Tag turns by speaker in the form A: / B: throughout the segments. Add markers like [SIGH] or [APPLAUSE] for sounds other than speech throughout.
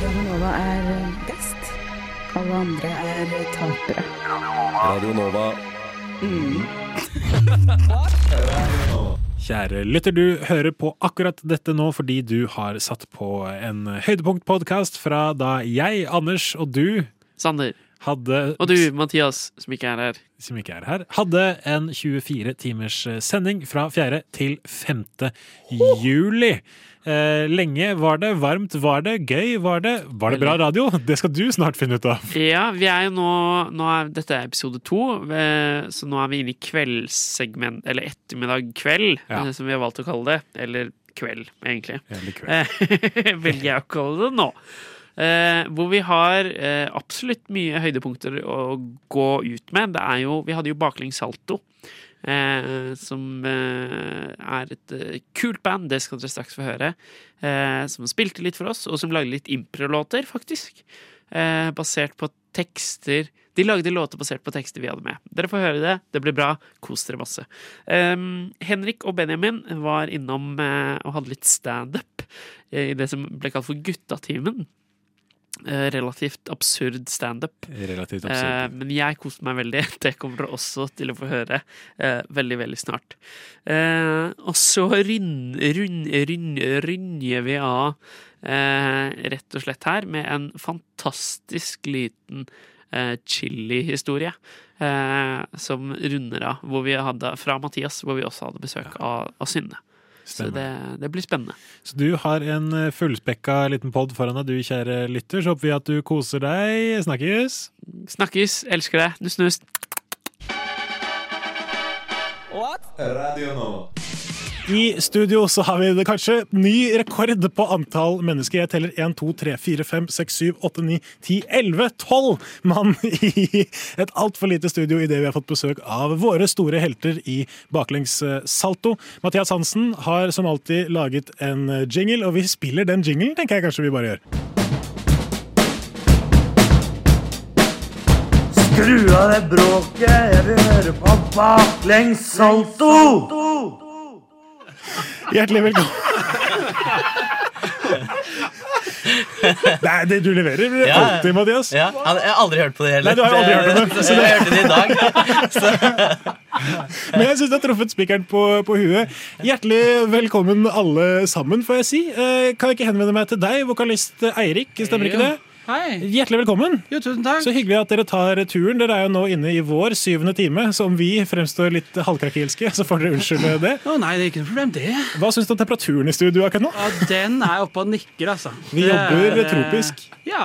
A: Radionova er eh, best. Alle andre er eh, tapere.
B: Radio Nova.
C: Kjære lytter, du hører på akkurat dette nå fordi du har satt på en høydepunktpodkast fra da jeg, Anders og du
D: Sander.
C: hadde
D: Og du, Mathias, som ikke er her.
C: som ikke er her, hadde en 24 timers eh, sending fra 4. til 5. juli. Eh, Lenge var det, varmt var det, gøy var det. Var det bra radio? Det skal du snart finne ut av.
D: Ja, vi er jo nå, nå er, Dette er episode to, eh, så nå er vi inne i kveldssegment, eller ettermiddag kveld,
C: Ja.
D: eh, som vi har valgt å kalle det. Eller kveld, egentlig.
C: Jævlig
D: [LAUGHS]
C: kult.
D: Eh, Velger jeg å kalle det nå. Eh, hvor vi har eh, absolutt mye høydepunkter å gå ut med. Det er jo, vi hadde jo Baklengs Salto, eh, som eh, er et eh, kult band, det skal dere straks få høre. Eh, som spilte litt for oss, og som lagde litt improlåter, faktisk. Eh, basert på tekster De lagde låter basert på tekster vi hadde med. Dere får høre det. Det blir bra. Kos dere masse. Ehm, Henrik og Benjamin var innom eh, og hadde litt standup eh, i det som ble kalt for Guttatimen. Eh, relativt absurd standup.
C: Relativt
D: Eh,
C: absurd.
D: men jeg koste meg veldig. [LAUGHS] Det kommer dere også til å få høre eh, veldig, veldig snart. Eh, og så ryn- ryn- ryn- rynjer vi av eh, rett og slett her med en fantastisk liten eh, chili-historie eh, som runder av, hvor vi hadde, fra Mathias, hvor vi også hadde besøk av, av Synne. Så
C: Stemmer.
D: det, det blir spennende.
C: Så du har en eh, fullspekka liten pod foran deg, du kjære lytter. Så håper vi at du koser deg. Snakkes!
D: Snakkes, elsker deg, nuss, nuss.
B: Radio Nova.
E: I studio så har vi det kanskje ny rekord på antall mennesker. Jeg teller 1, 2, 3, 4, 5, 6, 7, 8, 9, 10, 11, 12 mann i et altfor lite studio idet vi har fått besøk av våre store helter i baklengs eh, salto. Mathias Hansen har som alltid laget en eh, jingle, og vi spiller den jinglen, tenker jeg kanskje vi bare gjør.
F: Skru av det bråket, jeg vil høre på baklengs salto!
E: Hjertelig velkommen. Det, er det du leverer
G: Ja.
E: alltid, Mathias.
G: Ja, jeg har aldri hørt på det
E: Nei,
G: heller.
E: du har jo aldri hørt på det.
G: [LAUGHS] Så jeg hørte det i dag. [LAUGHS]
E: Men jeg syns du har truffet spikeren på, på huet. Hjertelig velkommen alle sammen, får jeg si. Eh, kan jeg ikke henvende meg til deg, vokalist Eirik? Stemmer ikke det?
H: Hei.
E: Hjertelig velkommen.
H: Jo, tusen takk.
E: Så hyggelig at dere tar turen. Dere er jo nå inne i vår syvende time, så om vi fremstår litt halvkrakilske, så får dere unnskylde det.
H: Å nei, det er ikke noe problem, det.
E: Hva syns du om temperaturen i studio akkurat nå?
H: Ja, den er oppe og nikker, altså.
E: [LAUGHS] Vi
H: Det
E: jobber
H: er, eh,
E: tropisk.
H: Ja.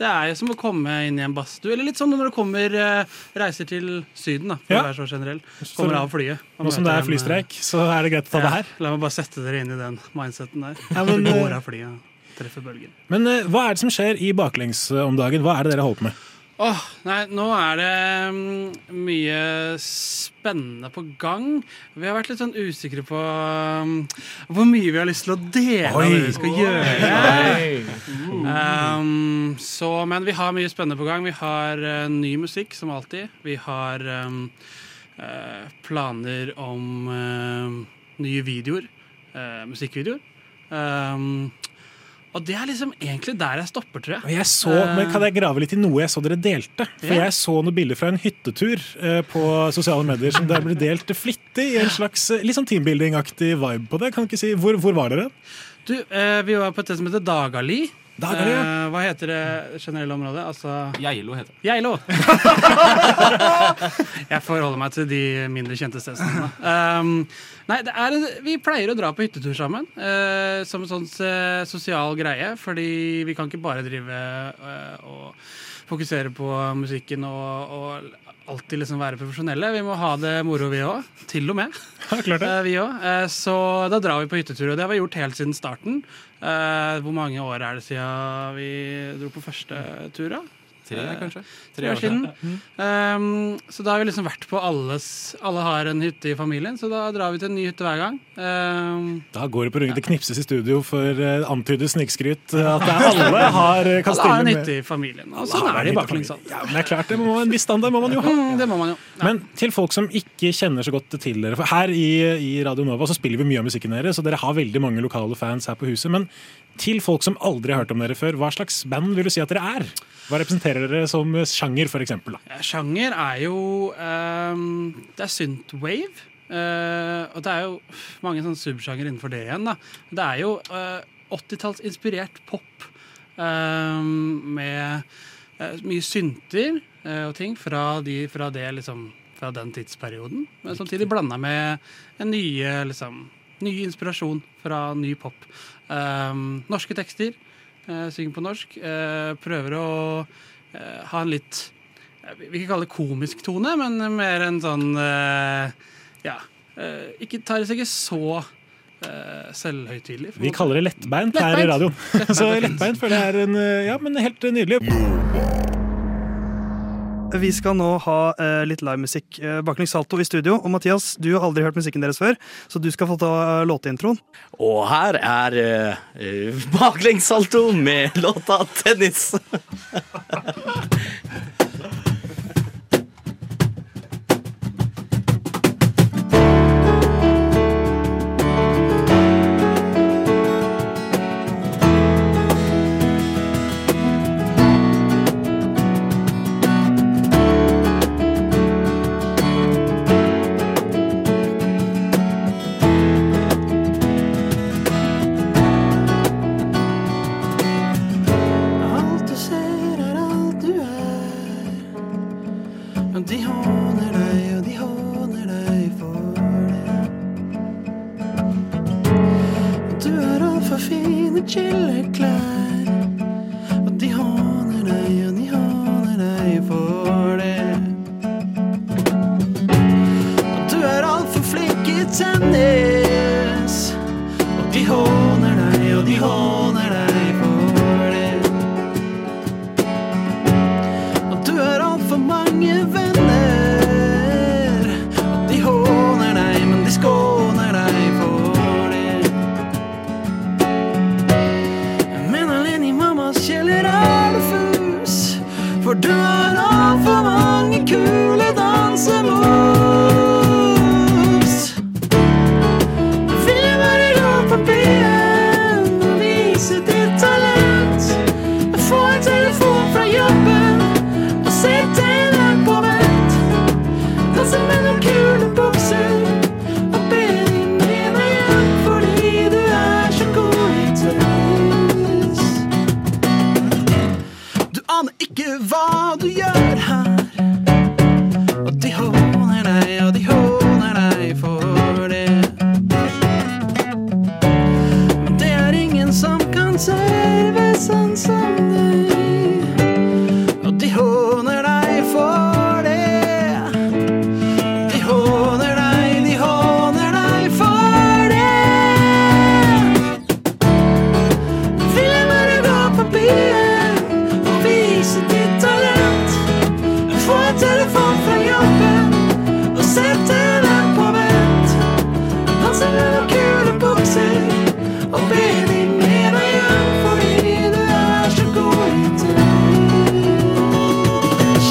H: Det er jo som å komme inn i en badstue. Eller litt sånn når du kommer eh, reiser til Syden, da, for
E: Ja.
H: å være så generell. Kommer av flyet.
E: Nå
H: og
E: som det er
H: møter dem, eh,
E: flystreik, så er det greit å ta det
H: ja,
E: her.
H: La meg bare sette dere inn i den mindseten der.
E: Ja, men,
H: Du
E: eh,
H: går av flyet og treffer bølgen.
E: Men eh, hva er det som skjer i baklengs eh, om dagen? Hva er det dere holder på med?
H: Åh, nei, nå er det mm, mye spennende på gang. Vi har vært litt sånn usikre på mm, hvor mye vi har lyst til å dele av det vi skal gjøre. Um, så, men vi har mye spennende på gang. Vi har eh, ny musikk, som alltid. Vi har um, eh, planer om eh, nye videoer. eh, musikkvideoer. Um, og det er liksom egentlig der jeg stopper, tror jeg.
E: Og jeg så, men Kan jeg grave litt i noe jeg så dere delte? For
H: Ja.
E: Jeg så noen bilder fra en hyttetur eh, på sosiale medier som der ble delt flittig i en slags eh, litt sånn teambuilding-aktig vibe på det. Kan ikke si, hvor, hvor var dere?
H: Du, eh, vi var på et sted som heter Dagali.
E: Dagali, ja.
H: eh, hva heter det generelle området? Altså
I: Geilo heter det.
E: [LAUGHS]
H: Geilo! [LAUGHS] jeg forholder meg til de mindre kjente stedene. Um, nei, det er, en- vi pleier å dra på hyttetur sammen eh, som en sånn eh, sosial greie. Fordi vi kan ikke bare drive eh, og fokusere på musikken og, og alltid liksom være profesjonelle. Vi må ha det moro, vi òg. Til og med.
E: Ja, klart det.
H: Eh, Vi òg. Eh, Så da drar vi på hyttetur, og det har vi gjort helt siden starten. Eh, Hvor mange år er det siden vi dro på første tur, da?
I: Tre, kanskje?
H: Tre år siden. Um, så da har vi liksom vært på alles Alle har en hytte i familien, så da drar vi til en ny hytte hver gang. Um,
E: Da går det på ryggen. Det knipses i studio for eh, antydet snikskryt. eh, At det er alle har, eh, kan
H: alle har
E: stille
H: en
E: med.
H: hytte i familien. Og
E: Alle
H: sånn
E: har
H: er
E: en
H: det i
E: hytte i
H: baklengs.
E: familien. Ja, men det er klart, det må, en viss standard må man jo ha.
H: Mm, det må man jo. Ja.
E: Men til folk som ikke kjenner så godt til dere For her i, i Radio Nova så spiller vi mye av musikken deres, så dere har veldig mange lokale fans her på huset. Men Til folk som aldri har hørt om dere før, hva slags band vil du si at dere er? Hva representerer dere som sjanger, for eksempel? Da?
H: Eh, Sjanger er jo ehm, Det er synthwave. eh, og det er jo mange sånne subsjanger innenfor det igjen. da. Det er jo eh, 80-tallsinspirert pop ehm, med eh, mye synter eh, og ting fra, de, fra det liksom fra den tidsperioden. Men samtidig blanda med en nye, liksom, ny inspirasjon fra ny pop. Ehm, norske tekster. eh, synger på norsk. eh, prøver å eh, ha en litt jeg vil ikke kalle det komisk tone, men mer en sånn eh, Ja. eh, ikke tar seg ikke så uh, selvhøytidelig. på en
E: Vi
H: måte.
E: kaller det lettbeint her i
H: Lettbeint.
E: radioen. [LAUGHS] Så lettbeint føler jeg er en, eh, ja, men helt nydelig.
F: Vi skal nå ha eh, litt livemusikk. Uh, Baklengs salto i studio. Og Mathias, du har aldri hørt musikken deres før, så du skal få ta eh, låteintroen.
G: Og her er uh, baklengssalto med låta 'Tennis'.
A: Alt du ser er alt du er. Og de håner deg, og de håner deg for det. Og Du er altfor fine chilleklær. Og de håner deg, og de håner deg for det. Og Du er altfor flink i tennis. Og de håner deg, og de håner deg for det. At du har altfor mange venner. At de håner deg, men de skåner deg for det. Men alene i mammas kjeller er du fus, for du har altfor mange kule dansemoves. Vil bare gå på byen og vise ditt talent. Få en telefon fra jobben og sette deg på vent. Danse med noen kule bukser og be din venner hjem fordi du er så god i tennis. Du aner ikke hva du gjør her. Og de håner deg, og de håner deg for det. Men det er ingen som kan serve sånn som deg. Og de håner deg for det. De håner deg, de håner deg for det. Vil jeg bare gå på byen og vise ditt talent. Få en telefon fra jobben og sette deg på vent. Danse med noen kule bukser og
F: Oh,
A: be de med deg hjem fordi du er så god i tennis.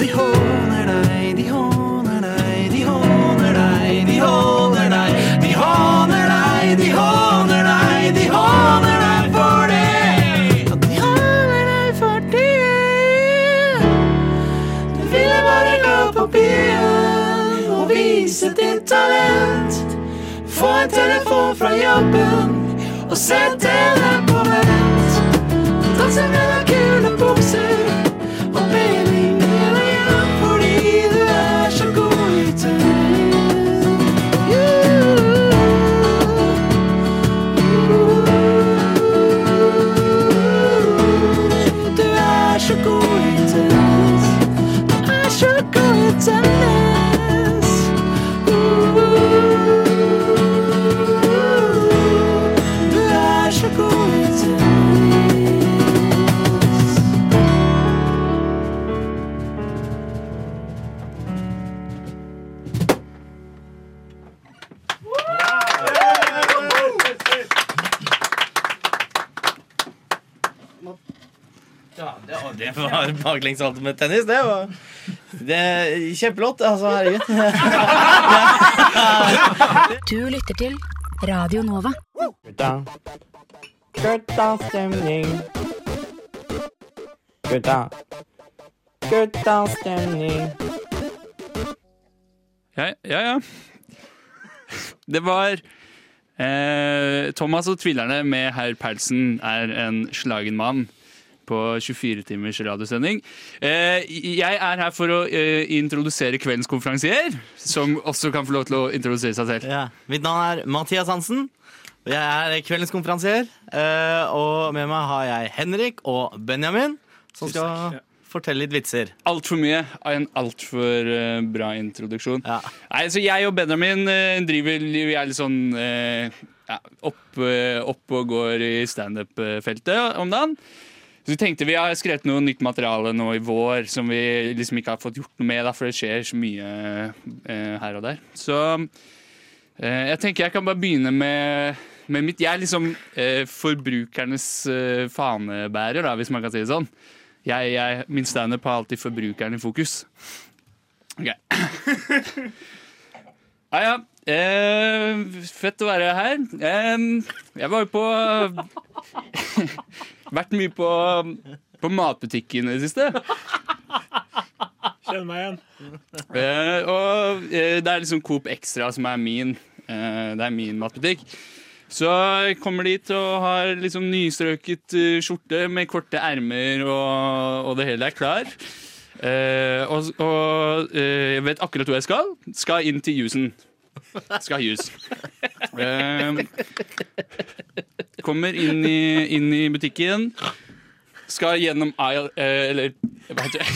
A: De håner deg, de håner deg, de håner deg, de håner deg. De håner deg, de håner deg, de håner deg for det. Og de håner deg for det. Du ville bare gå på byen og vise ditt talent. Få en telefon fra jobben og sette deg på vent. Danse med noen kule bukser og be de med deg hjem fordi du er så god i tennis. Du er så god i tennis. Du er så god i tennis. Du er så god i tennis.
G: Ja, det, det var bare baklengssalto med tennis. Det var det er kjempelåt. Altså, herregud.
J: Du lytter til Radio Nova.
K: Gutta. Guttastemning. Gutta. Guttastemning.
L: Ja, ja. ja. Det var eh, Thomas og tvilerne med herr Perlsen er en slagen mann på 24 timers radiosending. Eh, jeg er her for å eh, introdusere kveldens konferansier, som også kan få lov til å introdusere seg selv.
G: Ja. Mitt navn er Mathias Hansen. og Jeg er kveldens konferansier. eh, Og med meg har jeg Henrik og Benjamin, som skal fortelle litt vitser.
L: Altfor mye av en altfor uh, bra introduksjon. Nei, så Jeg og Benjamin eh, driver Vi er litt sånn eh, ja, opp, eh, opp og går i standup-feltet om dagen. Så tenkte Vi har skrevet noe nytt materiale nå i vår som vi liksom ikke har fått gjort noe med, da, for det skjer så mye eh, her og der. Så eh, jeg tenker jeg kan bare begynne med, med mitt Jeg er liksom eh, forbrukernes eh, fanebærer, da, hvis man kan si det sånn. Jeg, jeg, min standup har alltid forbrukeren i fokus. Ok. Ja, ja. Eh, fett å være her. Eh, jeg var jo på [LAUGHS] Vært mye på, på matbutikken i det siste.
E: Kjenner meg igjen.
L: Eh, og eh, det er liksom Coop Extra som er min. Eh, det er min matbutikk. Så jeg kommer dit og har liksom nystrøket eh, skjorte med korte ermer, og, og det hele er klar. Eh, og og eh, jeg vet akkurat hvor jeg skal. Skal inn til jusen. Skal ha jus. Eh, kommer inn i, inn i butikken. Skal gjennom aisle eh, Eller hva heter det?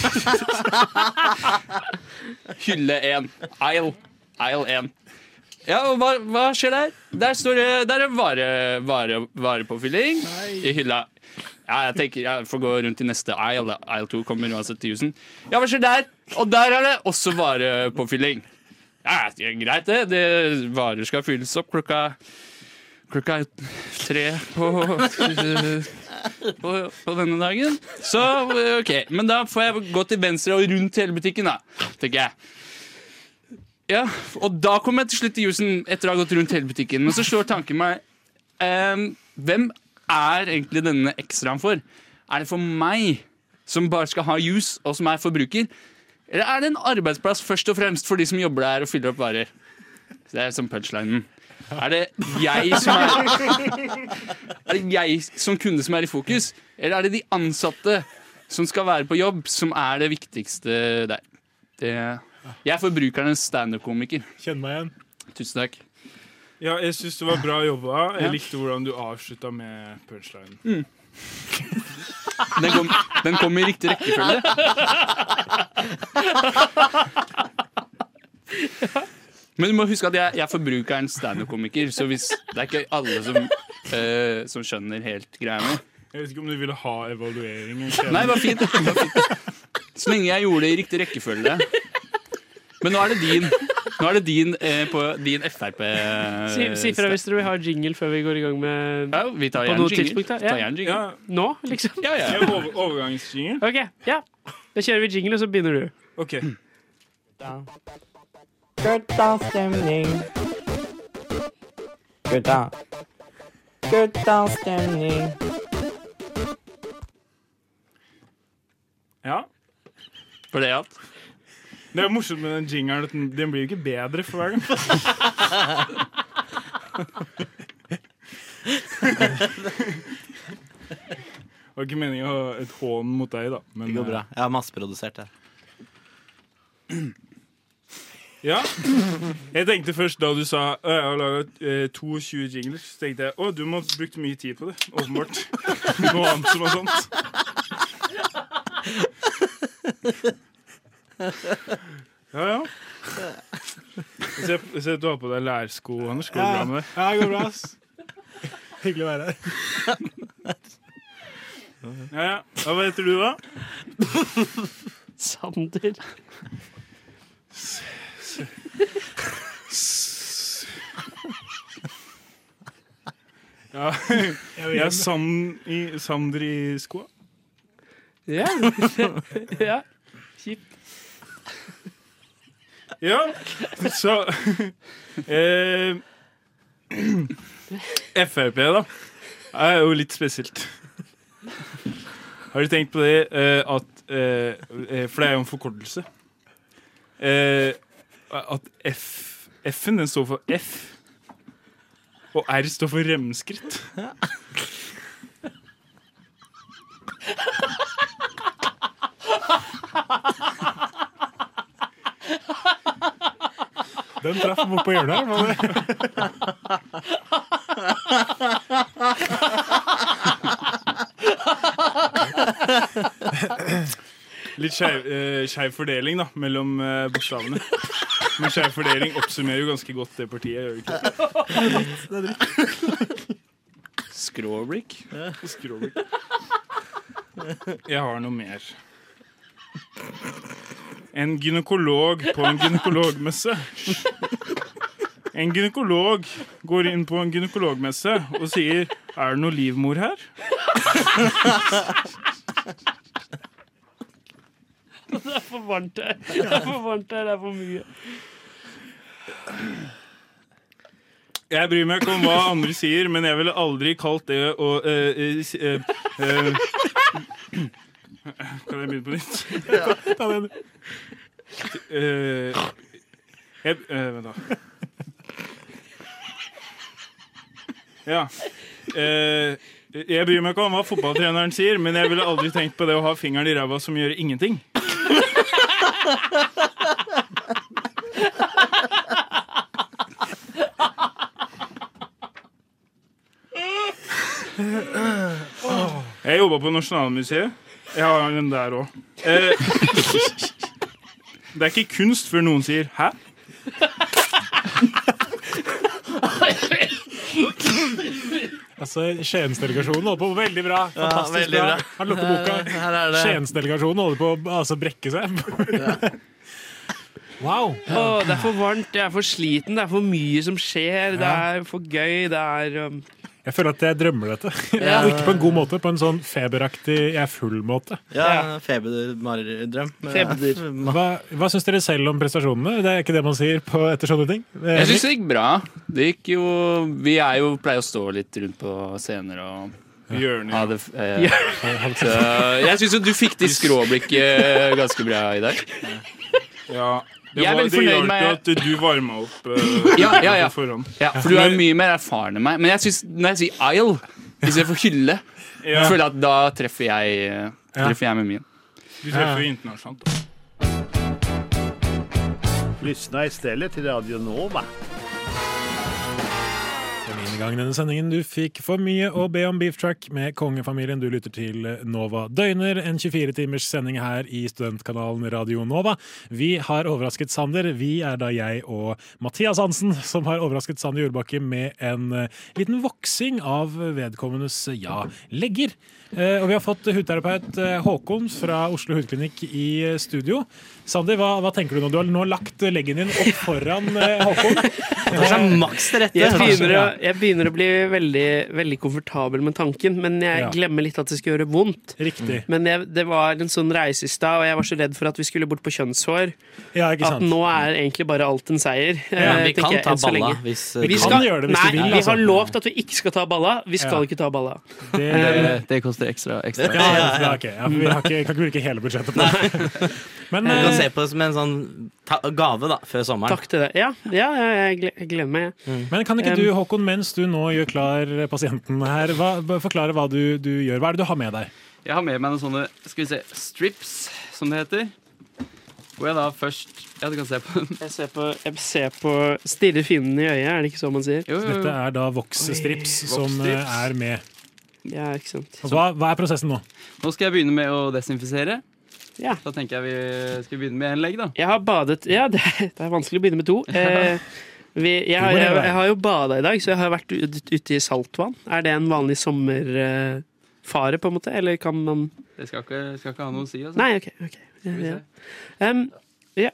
L: Hylle 1. Aisle. Aisle 1. Ja, og hva, hva skjer der? Der står det Der er vare, vare, varepåfylling i hylla. Ja, jeg tenker jeg får gå rundt i neste aisle. da. Aisle 2 kommer uansett til husen. Ja, hva skjer der? Og der er det også varepåfylling. Ja, det er greit det. det. Varer skal fylles opp klokka Klokka er tre på, på, på denne dagen. Så OK. Men da får jeg gå til venstre og rundt hele butikken, da, tenker jeg. Ja, og da kom jeg til slutt til jusen etter å ha gått rundt hele butikken. Men så slår tanken meg ehm, Hvem er egentlig denne ekstraen for? Er det for meg, som bare skal ha jus, og som er forbruker? Eller er det en arbeidsplass først og fremst for de som jobber der og fyller opp varer? Så Det er som punchlinen. Er det jeg som er er det jeg som kunde som er i fokus, eller er det de ansatte som skal være på jobb, som er det viktigste der? Det, jeg er forbrukernes standup-komiker.
M: Kjenn meg igjen.
L: Tusen takk.
M: Ja, jeg syns det var bra jobba.
L: Ja.
M: Jeg likte hvordan du avslutta med punchline.
L: Mm. Den kom, den kom i riktig rekkefølge. Men du må huske at jeg, jeg er forbrukerens standup-komiker, så hvis, det er ikke alle som, eh, som skjønner helt greia mi.
M: Jeg vet ikke om du ville ha evalueringen.
L: Nei, det var fint. Det var fint. Så lenge jeg gjorde det i riktig rekkefølge. Men nå er det din. Nå er det din, eh, på, din Frp.
D: Eh, Si, si fra hvis dere vil ha jingle før vi går i gang
L: eh,
D: med
L: Ja, vi tar
D: på
L: gjerne
D: noe
L: jingle.
D: tidspunkt, da.
L: Vi tar gjerne jingle.
D: Ja. Nå, liksom?
L: Ja, ja.
M: Ja, over- Overgangsjingle?
D: Ok, ja. Da kjører vi jingle, og så begynner du.
M: Ok.
K: Guttastemning. Gutta. Guttastemning.
M: Ja.
L: For det alt?
M: Det er morsomt med den jingeren. at Den den blir jo ikke bedre for hver gang. Det var ikke meningen å ha et hån mot deg, da. Men, eh,
G: Det går bra. Jeg har masseprodusert det.
M: Ja. Jeg tenkte først da du sa «Å, jeg har laga 22 jingler, så tenkte jeg å, du må ha brukt mye tid på det. Åpenbart. Noe annet som var sånt. Ja, ja. Jeg ser, jeg ser at du har på deg lærsko, Anders. Går det bra med deg?
E: Ja, det går bra, ass. Hyggelig å være her.
M: Ja, ja. Ja, Hva heter du, da?
D: Sander.
M: Ja. Jeg er sand i, Sander i skoa. [LAUGHS]
D: Ja. ja. Kjipt.
M: Ja, så eh, Frp, da, er jo litt spesielt. Har du tenkt på det eh, at eh, eh, For det er jo en forkortelse. Eh, at F, F-en, den står for F. Og R står for remskritt.
E: Den traff bort på hjørnet her. var
M: det? Litt skeiv eh, skeiv fordeling da mellom eh, bokstavene. Men skeiv fordeling oppsummerer jo ganske godt det partiet. Gjør det ikke? Skråblikk. Skråblikk. Jeg har noe mer. En gynekolog på en gynekologmesse. En gynekolog går inn på en gynekologmesse og sier 'Er det noe livmor her?'
D: Det er for varmt her. Det er for varmt her, det er for mye.
M: Jeg bryr meg ikke om hva andre sier, men jeg ville aldri kalt det å eh, eh, si- eh, eh, [CLEARS THROAT] Kan jeg begynne på nytt?
E: Ja. Ta den.
M: Eh, jeg, eh, vent, da. Ja. Eh, jeg bryr meg ikke om hva fotballtreneren sier, men jeg ville aldri tenkt på det å ha fingeren i ræva som gjør ingenting. Jeg jobba på Nasjonalmuseet. Jeg har den der òg. Eh, det er ikke kunst før noen sier 'hæ'?
E: Altså, Skiensdelegasjonen holder på veldig bra.
M: Ja,
E: Fantastisk
M: veldig
E: bra.
M: bra.
E: Han lukker boka.
M: Her er det.
E: Skiensdelegasjonen holder på å altså, brekke seg. Wow.
D: Åh, det er for varmt, jeg er for sliten, det er for mye som skjer, det er for gøy, det er um,
E: Jeg føler at jeg drømmer dette.
D: Ja.
E: Og ikke på en god måte, på en sånn feberaktig 'jeg er full'-måte.
G: Ja, febermareridrøm.
E: Hva, hva syns dere selv om prestasjonene? Det er ikke det man sier på, etter sånne ting. Eh,
L: Jeg syns det gikk bra. Det gikk jo Vi er jo pleier å stå litt rundt på scener og
M: Hjørnet.
L: Ha det, f- eh, så jeg syns jo du fikk de skråblikket ganske bra i dag.
M: Ja. Det,
L: Jeg er
M: var,
L: veldig
M: det
L: fornøyd
M: hjalp jo
L: med-
M: at du varma opp eh,
L: Ja, ja, ja.
M: på forhånd.
L: Ja, for du er jo mye mer erfaren enn meg. Men jeg synes, når jeg sier Isle istedenfor hylle,
M: Ja.
L: jeg føler jeg at da treffer jeg, eh,
M: Ja.
L: treffer jeg med min.
M: Du treffer jo internasjonalt. da.
N: Lyssna istället till Radio Nova.
E: Den ene gangen i denne sendingen du fikk for mye å be om beef track med kongefamilien. Du lytter til Nova Døgner, en 24-timers sending her i studentkanalen Radio Nova. Vi har overrasket Sander. Vi er da jeg og Mathias Hansen som har overrasket Sander Jordbakke med en eh, liten voksing av vedkommendes eh, ja, legger. Eh, Og vi har fått hudterapeut eh, Håkon fra Oslo hudklinikk i eh, studio. Sander, hva, hva tenker du nå? Du har nå lagt leggen din opp foran eh,
D: [LAUGHS]
E: Håkon.
D: tar seg maks
G: til
D: jeg begynner, å, jeg begynner å bli veldig, veldig komfortabel med tanken, men jeg
E: Ja.
D: glemmer litt at det skal gjøre vondt.
E: Riktig.
D: Men jeg, det var en sånn reise i stad, og jeg var så redd for at vi skulle bort på kjønnshår.
E: Ja, ikke
D: At
E: sant?
D: nå er egentlig bare alt en seier.
G: Ja,
D: eh,
G: vi
D: tenker
G: kan
D: jeg,
G: ta
D: enn så
G: balla
D: lenge.
G: hvis- eh,
D: Vi
G: Vi kan
D: skal-
G: gjøre det hvis
D: nei,
G: vi vil,
D: Vi har
G: altså.
D: lovt at vi ikke skal ta balla. Vi skal
E: Ja.
D: ikke ta balla.
L: Det, det koster ekstra. ekstra.
E: Ja, ja, ja. ok. Ja, for vi har ikke, kan ikke bruke hele budsjettet på det. [LAUGHS] Men
G: Du kan
E: eh,
G: se på det som en sånn ta gave da, før sommeren.
D: Takk til deg. Ja, ja, ja jeg gle- jeg glemmer det.
E: Men kan ikke du, Håkon, mens du nå gjør klar eh, pasienten her, hva, b- forklare hva du, du gjør? Hva er det du har med deg?
L: Jeg har med meg noen sånne skal vi se, strips, som det heter. Hvor jeg da først Ja, du kan se på den.
D: Jeg ser på, jeg ser på Stirre fienden i øyet, er det ikke så man sier?
E: Dette
D: Mm.
E: er da voksstrips
L: Oi,
E: som eh,
L: voksstrips.
E: er med.
D: Ja, ikke sant.
E: Hva, hva er prosessen nå?
L: Nå skal jeg begynne med å desinfisere.
D: Ja.
L: Da tenker jeg vi skal begynne med en legg, da.
D: Jeg har badet Ja, det, det er vanskelig å begynne
G: [LAUGHS]
D: med to. Eh, vi, jeg, har,
L: Du må
D: jeg,
L: hele veien.
D: jeg har jo bada i dag, så jeg har vært ut, ute i saltvann. Er det en vanlig sommerfare, fare på en måte? Eller kan man
L: Det skal ikke, skal ikke ha noe å si. Altså.
D: Nei, OK. ok. Ja,
L: vi
D: ja. Em, ja.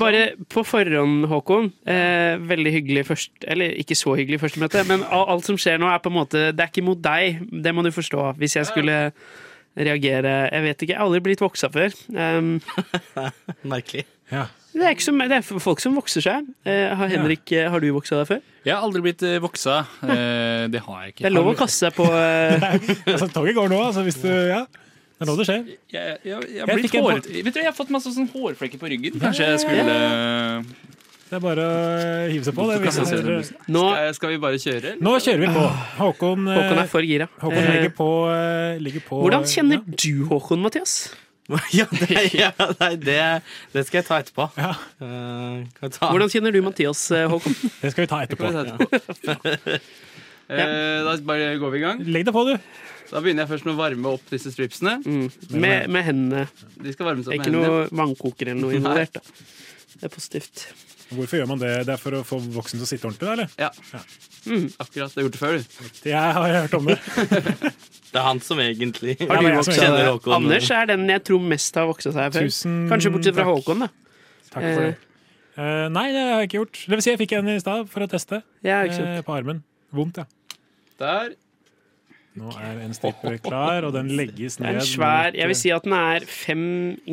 D: Bare
E: sånn?
D: på forhånd, Håkon. Eh, veldig hyggelig først Eller ikke så hyggelig første møte, men a- alt som skjer nå, er på en måte Det er ikke mot deg, det må du forstå. Hvis jeg skulle reagere Jeg vet ikke, jeg har aldri blitt voksa før. Um,
G: Merkelig.
D: det, er ikke så, det er folk som vokser seg. Eh, har, Henrik, eh, har du voksa deg før?
L: Jeg har aldri blitt eh, voksa. Eh, Det har jeg ikke.
D: Det er lov å kaste seg på
E: [LAUGHS]
D: eh,
E: Altså, toget går nå, altså, hvis du Ja. Det er nå det skjer.
L: Jeg, jeg, jeg,
E: Jeg
L: har blitt
E: fikk en
L: håret-
E: pot-
L: Vet du, jeg har fått masse sånn hårflekker på ryggen.
E: Ja,
L: Kanskje jeg
E: ja, ja,
L: skulle eh,
E: Det er bare å eh, hive seg på. Det,
L: Hvorfor
E: hvis
L: kaster jeg
E: dere-
L: seg skal, skal vi bare kjøre? eller?
E: Nå kjører vi på. Håkon, eh,
D: Håkon er for gira.
E: Håkon
D: Eh,
E: ligger på, eh, ligger på
D: Hvordan kjenner du Håkon, Mathias?
G: [LAUGHS] Ja, det, ja, nei, det, det skal jeg ta etterpå. Eh, kan jeg ta?
D: Hvordan kjenner du Mathias, eh, Håkon?
E: [LAUGHS] Det skal vi ta etterpå.
D: [LAUGHS]
O: Eh, Da bare går vi i gang.
E: Legg deg på, du.
O: Da begynner jeg først med å varme opp disse stripsene.
D: Med, med hendene.
O: De skal varmes opp
D: Mm.
O: med
D: Det er ikke noe
O: hendene.
D: vannkoker eller noe
O: Nei.
D: involvert. Da. Det er positivt.
E: Hvorfor gjør man det? Det er for å få voksen til å sitte ordentlig, da, eller?
O: Ja. Akkurat. Du har gjort det før, du.
E: Jeg har hørt om
D: [LAUGHS]
E: det.
G: Det er han som egentlig [LAUGHS]
D: Har du voksa
G: kjenner
D: deg?
G: Håkon.
D: Anders er den jeg tror mest har voksa seg før.
E: Tusen
D: Kanskje bortsett fra
E: takk.
D: Håkon, da.
E: Takk for det. Eh, nei, det har jeg ikke gjort. Det vil si, jeg fikk en i stad for å teste.
D: Ja, ikke sant.
E: eh, på armen. Vondt, ja.
O: Der.
E: Nå er en stripe klar, og den legges
D: Det
E: ned.
D: er en svær
E: mot,
D: Jeg vil si at den er fem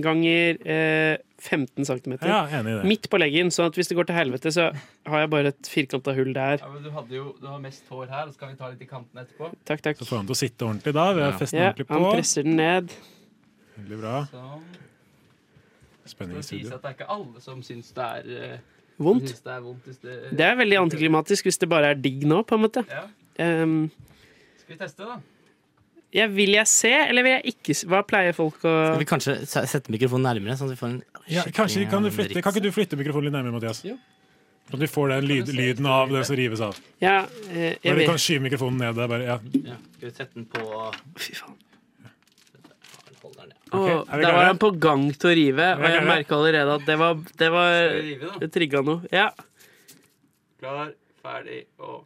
D: ganger eh, 15 cm.
E: Ja, enig i det.
D: Midt på leggen, sånn at hvis det går til helvete, så har jeg bare et firkanta hull der.
O: Ja, men du, hadde jo, du har mest hår her, så kan vi ta litt i kanten etterpå.
D: Takk, takk.
E: Så får han til å sitte ordentlig da. Vi har festet
D: Ja,
E: ordentlig på.
D: han presser den ned.
E: Veldig bra.
O: Sånn.
E: Spenning i
O: For å vise
E: studio.
O: at det er ikke alle som syns det er eh,
D: Vondt.
O: som syns Det er vondt hvis det,
D: Det er veldig antiklimatisk hvis det bare er digg nå, på en måte. Ehm,
O: Skal vi teste, da?
D: ja, vil jeg se, eller vil jeg ikke se? Hva pleier folk å
G: Skal vi kanskje se- sette mikrofonen nærmere? Sånn at vi får en
E: Ja, kanskje
G: skikkelig,
E: kan, du
G: eh,
E: flytte,
G: rik-
E: kan ikke du flytte mikrofonen litt nærmere, Mathias? Sånn at vi får den lyd, lyden av det som rives av.
D: Ja, eh, jeg
E: Når du
D: vet
E: kan skyve mikrofonen ned der, bare ja.
G: Skal vi sette den på
D: Fy faen.
G: Ok, er
D: Åh,
G: vi
D: der
G: klare?
D: var han på gang til å rive,
G: Er vi
D: og jeg
G: klare?
D: merka allerede at det var Det, var,
O: Skal vi rive, da?
D: det trigga noe. Ja.
O: Klar, ferdig og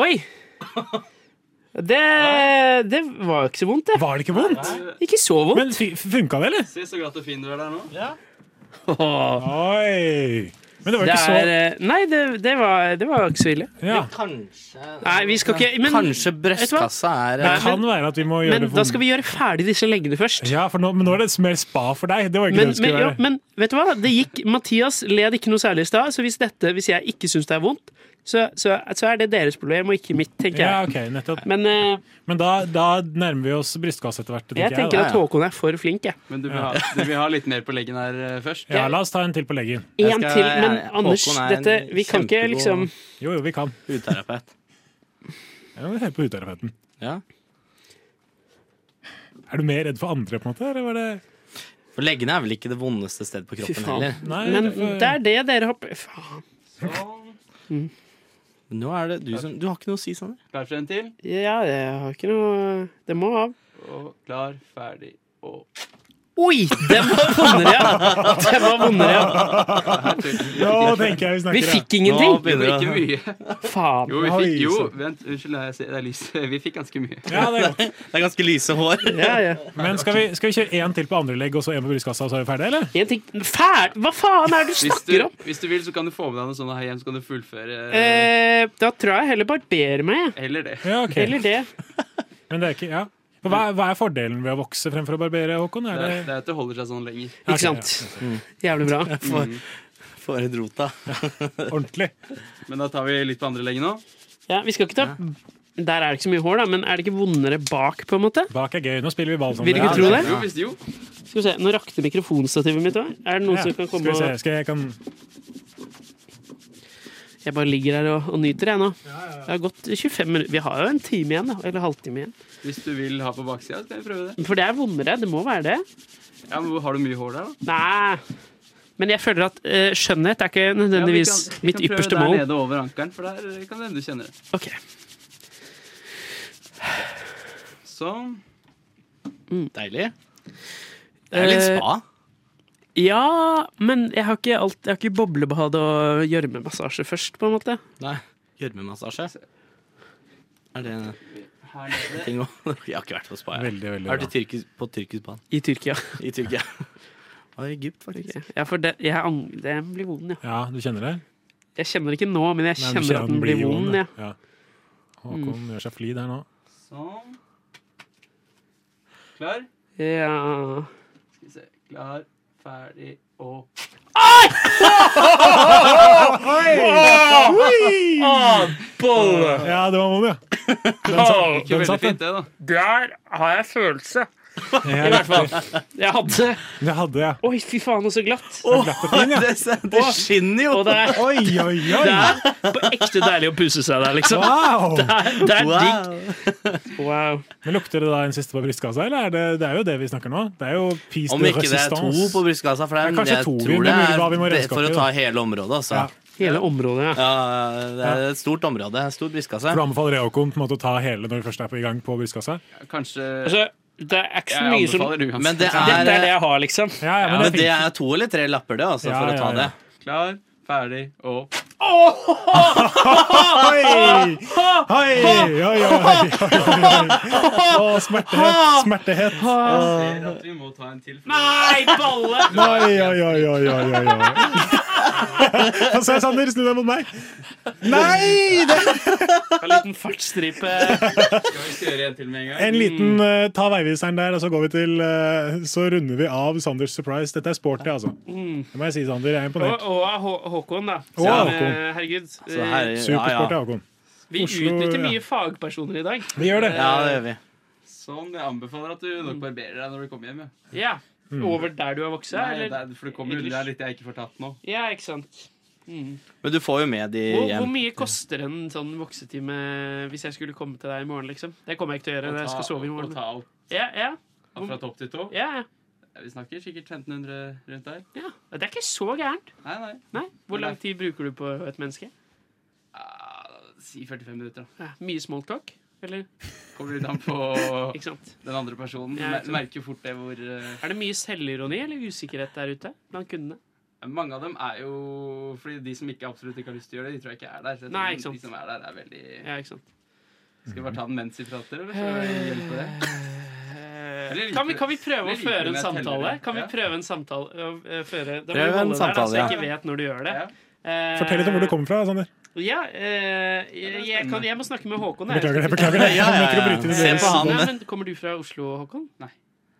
D: Oi! Det, det var jo ikke så vondt, det.
E: Var det ikke vondt?
D: Ikke så vondt.
E: Men funka det, eller?
O: Se så glatt og fin du er der nå. Ja.
E: Oi! Men det var ikke
D: er, eh, Nei, det, det, var, det var ikke så ille.
G: Kanskje
D: Nei, vi skal ikke men,
G: Kanskje
D: vet du hva?
G: brystkassa er
D: Nei,
E: Det kan være at vi må gjøre
D: Men
E: det
D: da skal vi gjøre ferdig disse leggene først.
E: Ja, for nå, men nå er det mer spa for deg. Det var ikke
D: Men,
E: det det
D: men,
E: skulle
D: ja,
E: være.
D: men vet du hva? Det gikk, Mathias led ikke noe særlig i stad, så hvis, dette, hvis jeg ikke syns det er vondt, så, så, så er det deres problem og ikke mitt, tenker
E: Ja,
D: jeg.
E: ok, nettopp.
D: Men, eh,
E: da, da nærmer vi oss brystkasse etter hvert.
D: Jeg tenker at Håkon er for flink, jeg.
O: Men du vil, ha, du vil ha litt mer på leggen her eh, først? [LAUGHS]
E: Ja, la oss ta en til på leggen.
D: En Jeg skal- til, men jeg- Anders, Håkon er en dette- vi kan ikke kjempegod liksom-
E: Jo, jo, vi kan.
G: Hudterapeut.
E: Ja, vi hører på hudterapeuten.
G: Ja.
E: Er du mer redd for andre, på en måte? Eller var det
G: For leggene er vel ikke det vondeste stedet på
D: Fy
G: kroppen
D: faen.
G: heller.
D: Men det er det dere har Faen.
G: Nå er det du som Du har ikke noe å si, Sander.
O: Klar for en til?
D: Ja, jeg har ikke noe Det må av.
O: Og klar, ferdig og
D: Oi! Den var vondere, ja! Den var vondere, ja.
E: Nå tenker jeg vi snakker,
D: Vi
E: ja.
D: fikk ingenting.
E: Nå begynner det.
O: Ikke mye.
D: Faen.
O: Jo, vi fikk,
E: Oi,
O: jo
E: så-
O: vent, unnskyld, jeg ser- det er lys. [LAUGHS] Vi fikk ganske mye.
G: er ganske lyse hår. [LAUGHS]
E: Men skal vi, skal vi kjøre én til på andre legg og så én på brystkassa, og så er vi ferdige, eller?
D: Fæl! Hva faen er det du
O: Hvis du,
D: snakker om?
O: hvis du vil, så kan du få med deg noe sånt her hjem, så kan du fullføre eh,
D: Eh, da tror jeg heller barberer meg. jeg.
O: Heller det.
E: Ja, ok.
D: Eller det.
E: Men det er ikke, ja. For hva, er- hva er fordelen ved å vokse fremfor å barbere, Håkon?
O: Det
E: Er
O: er,
D: Eh.
E: det,
O: det er at det holder seg sånn lenger.
E: Ja, ok, sant?
D: Jævlig bra.
G: For,
O: Mm.
G: for et rota.
D: Eh,
E: Ordentlig.
O: Men da tar vi litt på andre leggen nå.
D: Ja, vi skal ikke ta Der er det ikke så mye hår, da, men er det ikke vondere bak, på en måte?
E: Bak er gøy. Nå spiller vi ball sammen.
D: Vil du ikke tro det?
O: Jo, hvis jo.
D: Skal vi se, Nå rakte mikrofonstativet mitt òg. Er det noen
E: Ja,
D: som kan
E: skal vi
D: komme
E: se,
D: og
E: skal jeg kan...
D: Jeg bare ligger her og, og nyter, jeg nå. Det har gått 25 minutter. Vi har jo en time igjen, da. Eller halvtime igjen.
O: Hvis du vil ha på baksida, skal vi prøve det.
D: For det er vondere. Det må være det.
O: Ja, men Har du mye hår der, da?
D: Nei. Men jeg føler at eh, skjønnhet er ikke nødvendigvis
O: Ja, vi kan, vi
D: mitt
O: kan prøve
D: ypperste
O: der
D: mål.
O: nede over ankelen, for der eh, kan det hende du kjenner det.
D: Ok.
O: Sånn.
G: Deilig. Det er litt
D: Eh,
G: spa.
D: Ja, men jeg har ikke, alt, jeg har ikke boblebad og gjørmemassasje først, på en måte.
G: Nei. Gjørmemassasje. Er det en [LAUGHS] ting òg? Jeg har ikke vært på spa. Jeg,
E: veldig,
G: jeg har vært i tyrkis, på tyrkisk bad.
D: I Tyrkia.
G: I Tyrkia. Og i Egypt, faktisk.
D: Ja, for det, jeg, ang- det blir vond, ja.
E: Ja, du kjenner det?
D: Jeg kjenner det ikke nå, men jeg
E: Nei,
D: kjenner,
E: du
D: at den blir vond. Ja. Mm.
E: ja. Håkon gjør seg flid her nå.
O: Sånn. Klar?
D: Ja
O: Skal vi se. Klar, ferdig og
D: Oi!
G: Ah,
E: Ja, det var Molly, ja. Den satt- den satt, den.
D: det, da. Der har jeg følelse.
E: Ja,
D: I hvert fall. Jeg hadde
E: Det hadde jeg.
D: Oi, fy faen, og så glatt.
G: [LAUGHS] det, det skinner jo!
D: Og det er,
E: Oi, oi, oi.
D: det er på ekte deilig å puse seg der, liksom.
E: Wow.
D: Det er, det er digg.
E: Men Lukter det da en siste på brystkassa, eller er det, det er jo det vi snakker nå? Det er jo piece
G: Om
E: de
G: ikke det er to
E: resistance.
G: på brystkassa, for det er,
E: Det er kanskje
G: jeg
E: to. Vi
G: tror
E: må
G: det
E: lure hva vi må
G: er det,
E: renske
G: for
E: opp
G: å
E: i,
G: ta
E: da.
G: hele området, altså.
D: Hele området,
G: ja. Det er et stort område. En stor brystkasse.
E: For Du anbefaler Reokon på en måte å ta hele når du først er på i gang på brystkassa?
O: Kanskje
D: Altså, det er ikke så
G: Jeg
D: mye som
G: anbefaler uansett. Men
D: Dette
G: det er-
D: er det jeg har, liksom.
G: Ja, men det er to eller tre lapper, det, altså,
D: Ja,
G: for å ta
D: ja, ja.
G: det.
O: Klar, ferdig og
E: Oi! Oi, oi, oi, oi, oi, oi. Å, smertehet, smertehet.
O: Jeg ser at vi må ta en til.
D: Nei, balle!
E: Oi, oi, oi, oi, oi, oi, oi. Hva sa jeg, Sander? Snu deg mot meg. Nei! Det...
D: En liten fartsstripe.
O: Skal vi kjøre en til med en gang?
E: En liten eh, ta veiviseren der, og så går vi til eh, Så runder vi av Sanders surprise. Dette er sporty, altså.
D: Mm.
E: Det må jeg si, Sander. Jeg er
D: Og,
E: imponert.
D: og av Hå- Håkon, da.
E: Og av Håkon.
D: eh, herregud. eh,
E: Supersporty, Håkon.
D: Vi
E: Oslo,
D: utnytter
E: ja.
D: mye fagpersoner i dag.
E: Vi gjør det.
O: Ja,
E: det gjør vi.
O: Sånn, jeg anbefaler at du nok barberer deg når du kommer hjem. Ja.
D: Ja.
O: Mm.
D: Over der du har vokst?
O: Nei,
D: eller?
O: det er- for det kommer
D: ellers?
O: unna litt jeg ikke får tatt nå.
D: Ja, ikke sant. Mm.
G: Men du får jo med de
D: Hvor, hvor
G: hjem.
D: mye koster en sånn voksetime hvis jeg skulle komme til deg i morgen? liksom? Det kommer jeg ikke til å gjøre.
O: Og
D: jeg skal
O: ta-
D: sove i
O: og
D: morgen.
O: ta alt.
D: Ja, ja.
O: Og Fra topp til tå.
D: Ja,
O: Vi snakker sikkert 1500 rundt der.
D: ja. Det er ikke så gærent.
O: Nei, nei.
D: Nei. Hvor lang tid bruker du på et menneske?
O: Si 45 minutter, da.
D: Ja, mye smalltalk? Eller?
O: Kommer litt an på
D: [LAUGHS] Ikke sant?
O: den andre personen.
D: Ja, ikke
O: Mer-
D: sant.
O: Merker fort det hvor eh,
D: Er det mye selvironi eller usikkerhet der ute blant kundene?
O: Mange av dem er jo Fordi de som ikke absolutt ikke har lyst til å gjøre det, de tror jeg ikke er der. Så jeg
D: Nei,
O: tror
D: ikke sant.
O: De som er der, er veldig
D: Ja, ikke sant.
O: Skal vi bare ta den mens vi prater, eller?
D: Eh,
O: Skal vi hjelpe det? Eller
D: Kan vi,
O: liker-
D: kan vi
O: eller
D: prøve å
O: liker du
D: føre en
O: med
D: samtale?
O: tellere?
D: Kan vi
O: Ja.
D: prøve en samtale? øh, øh, Føre, da må
G: Prøv
D: vi holde
G: en
D: der, da,
G: samtale,
D: så jeg
G: ja.
D: ikke vet når du gjør det. Eh,
E: Fortell litt om hvor du kommer fra, Sander.
D: Ja, eh, jeg, jeg, kan, jeg må snakke med Håkon. jeg.
E: Beklager det, beklager det. Jeg Ja, ja, ja. liker å bryte inn i
D: Eh,
E: det. Se på han.
D: Nei, men kommer du fra Oslo, Håkon?
O: Nei.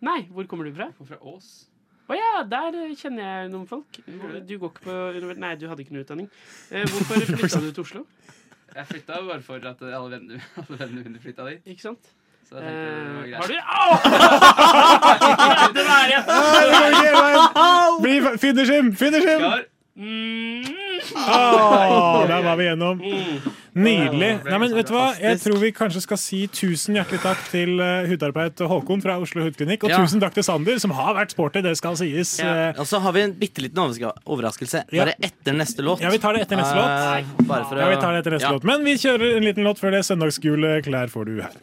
D: Nei, Hvor kommer du fra?
O: Jeg kommer fra Ås.
D: Å ja, der eh, kjenner jeg noen folk. Du går ikke på univers- Nei, du hadde ikke noe utdanning. Eh, Hvorfor flytta du til Oslo?
O: Jeg flytta jo bare for at alle vennene, alle vennene mine flytta dit.
D: Ikke sant?
O: Så jeg tenkte det var
D: Eh,
O: greit.
D: har du Au! [LAUGHS] Det var jeg.
E: Nei, det går ikke hele veien. Bli, finish him! Finish him!
D: Mm.
E: Åh, der var vi gjennom.
G: Mm.
E: Nydelig. Nei,
G: liksom
E: men vet du hva? Jeg tror vi kanskje skal si tusen hjertelig takk til eh, hudterapeut Håkon fra Oslo hudklinikk. Og
G: Ja.
E: tusen takk til Sander, som har vært sporty. Det skal sies. Eh,
G: Og så har vi en bitte liten overraska- overraskelse.
E: Ja.
G: Bare etter neste låt.
E: Ja, vi tar det etter neste låt.
G: Eh, bare for å...
E: Ja, vi tar det etter neste
G: Ja.
E: låt. Men vi kjører en liten låt før det. Søndagsgule klær får du her.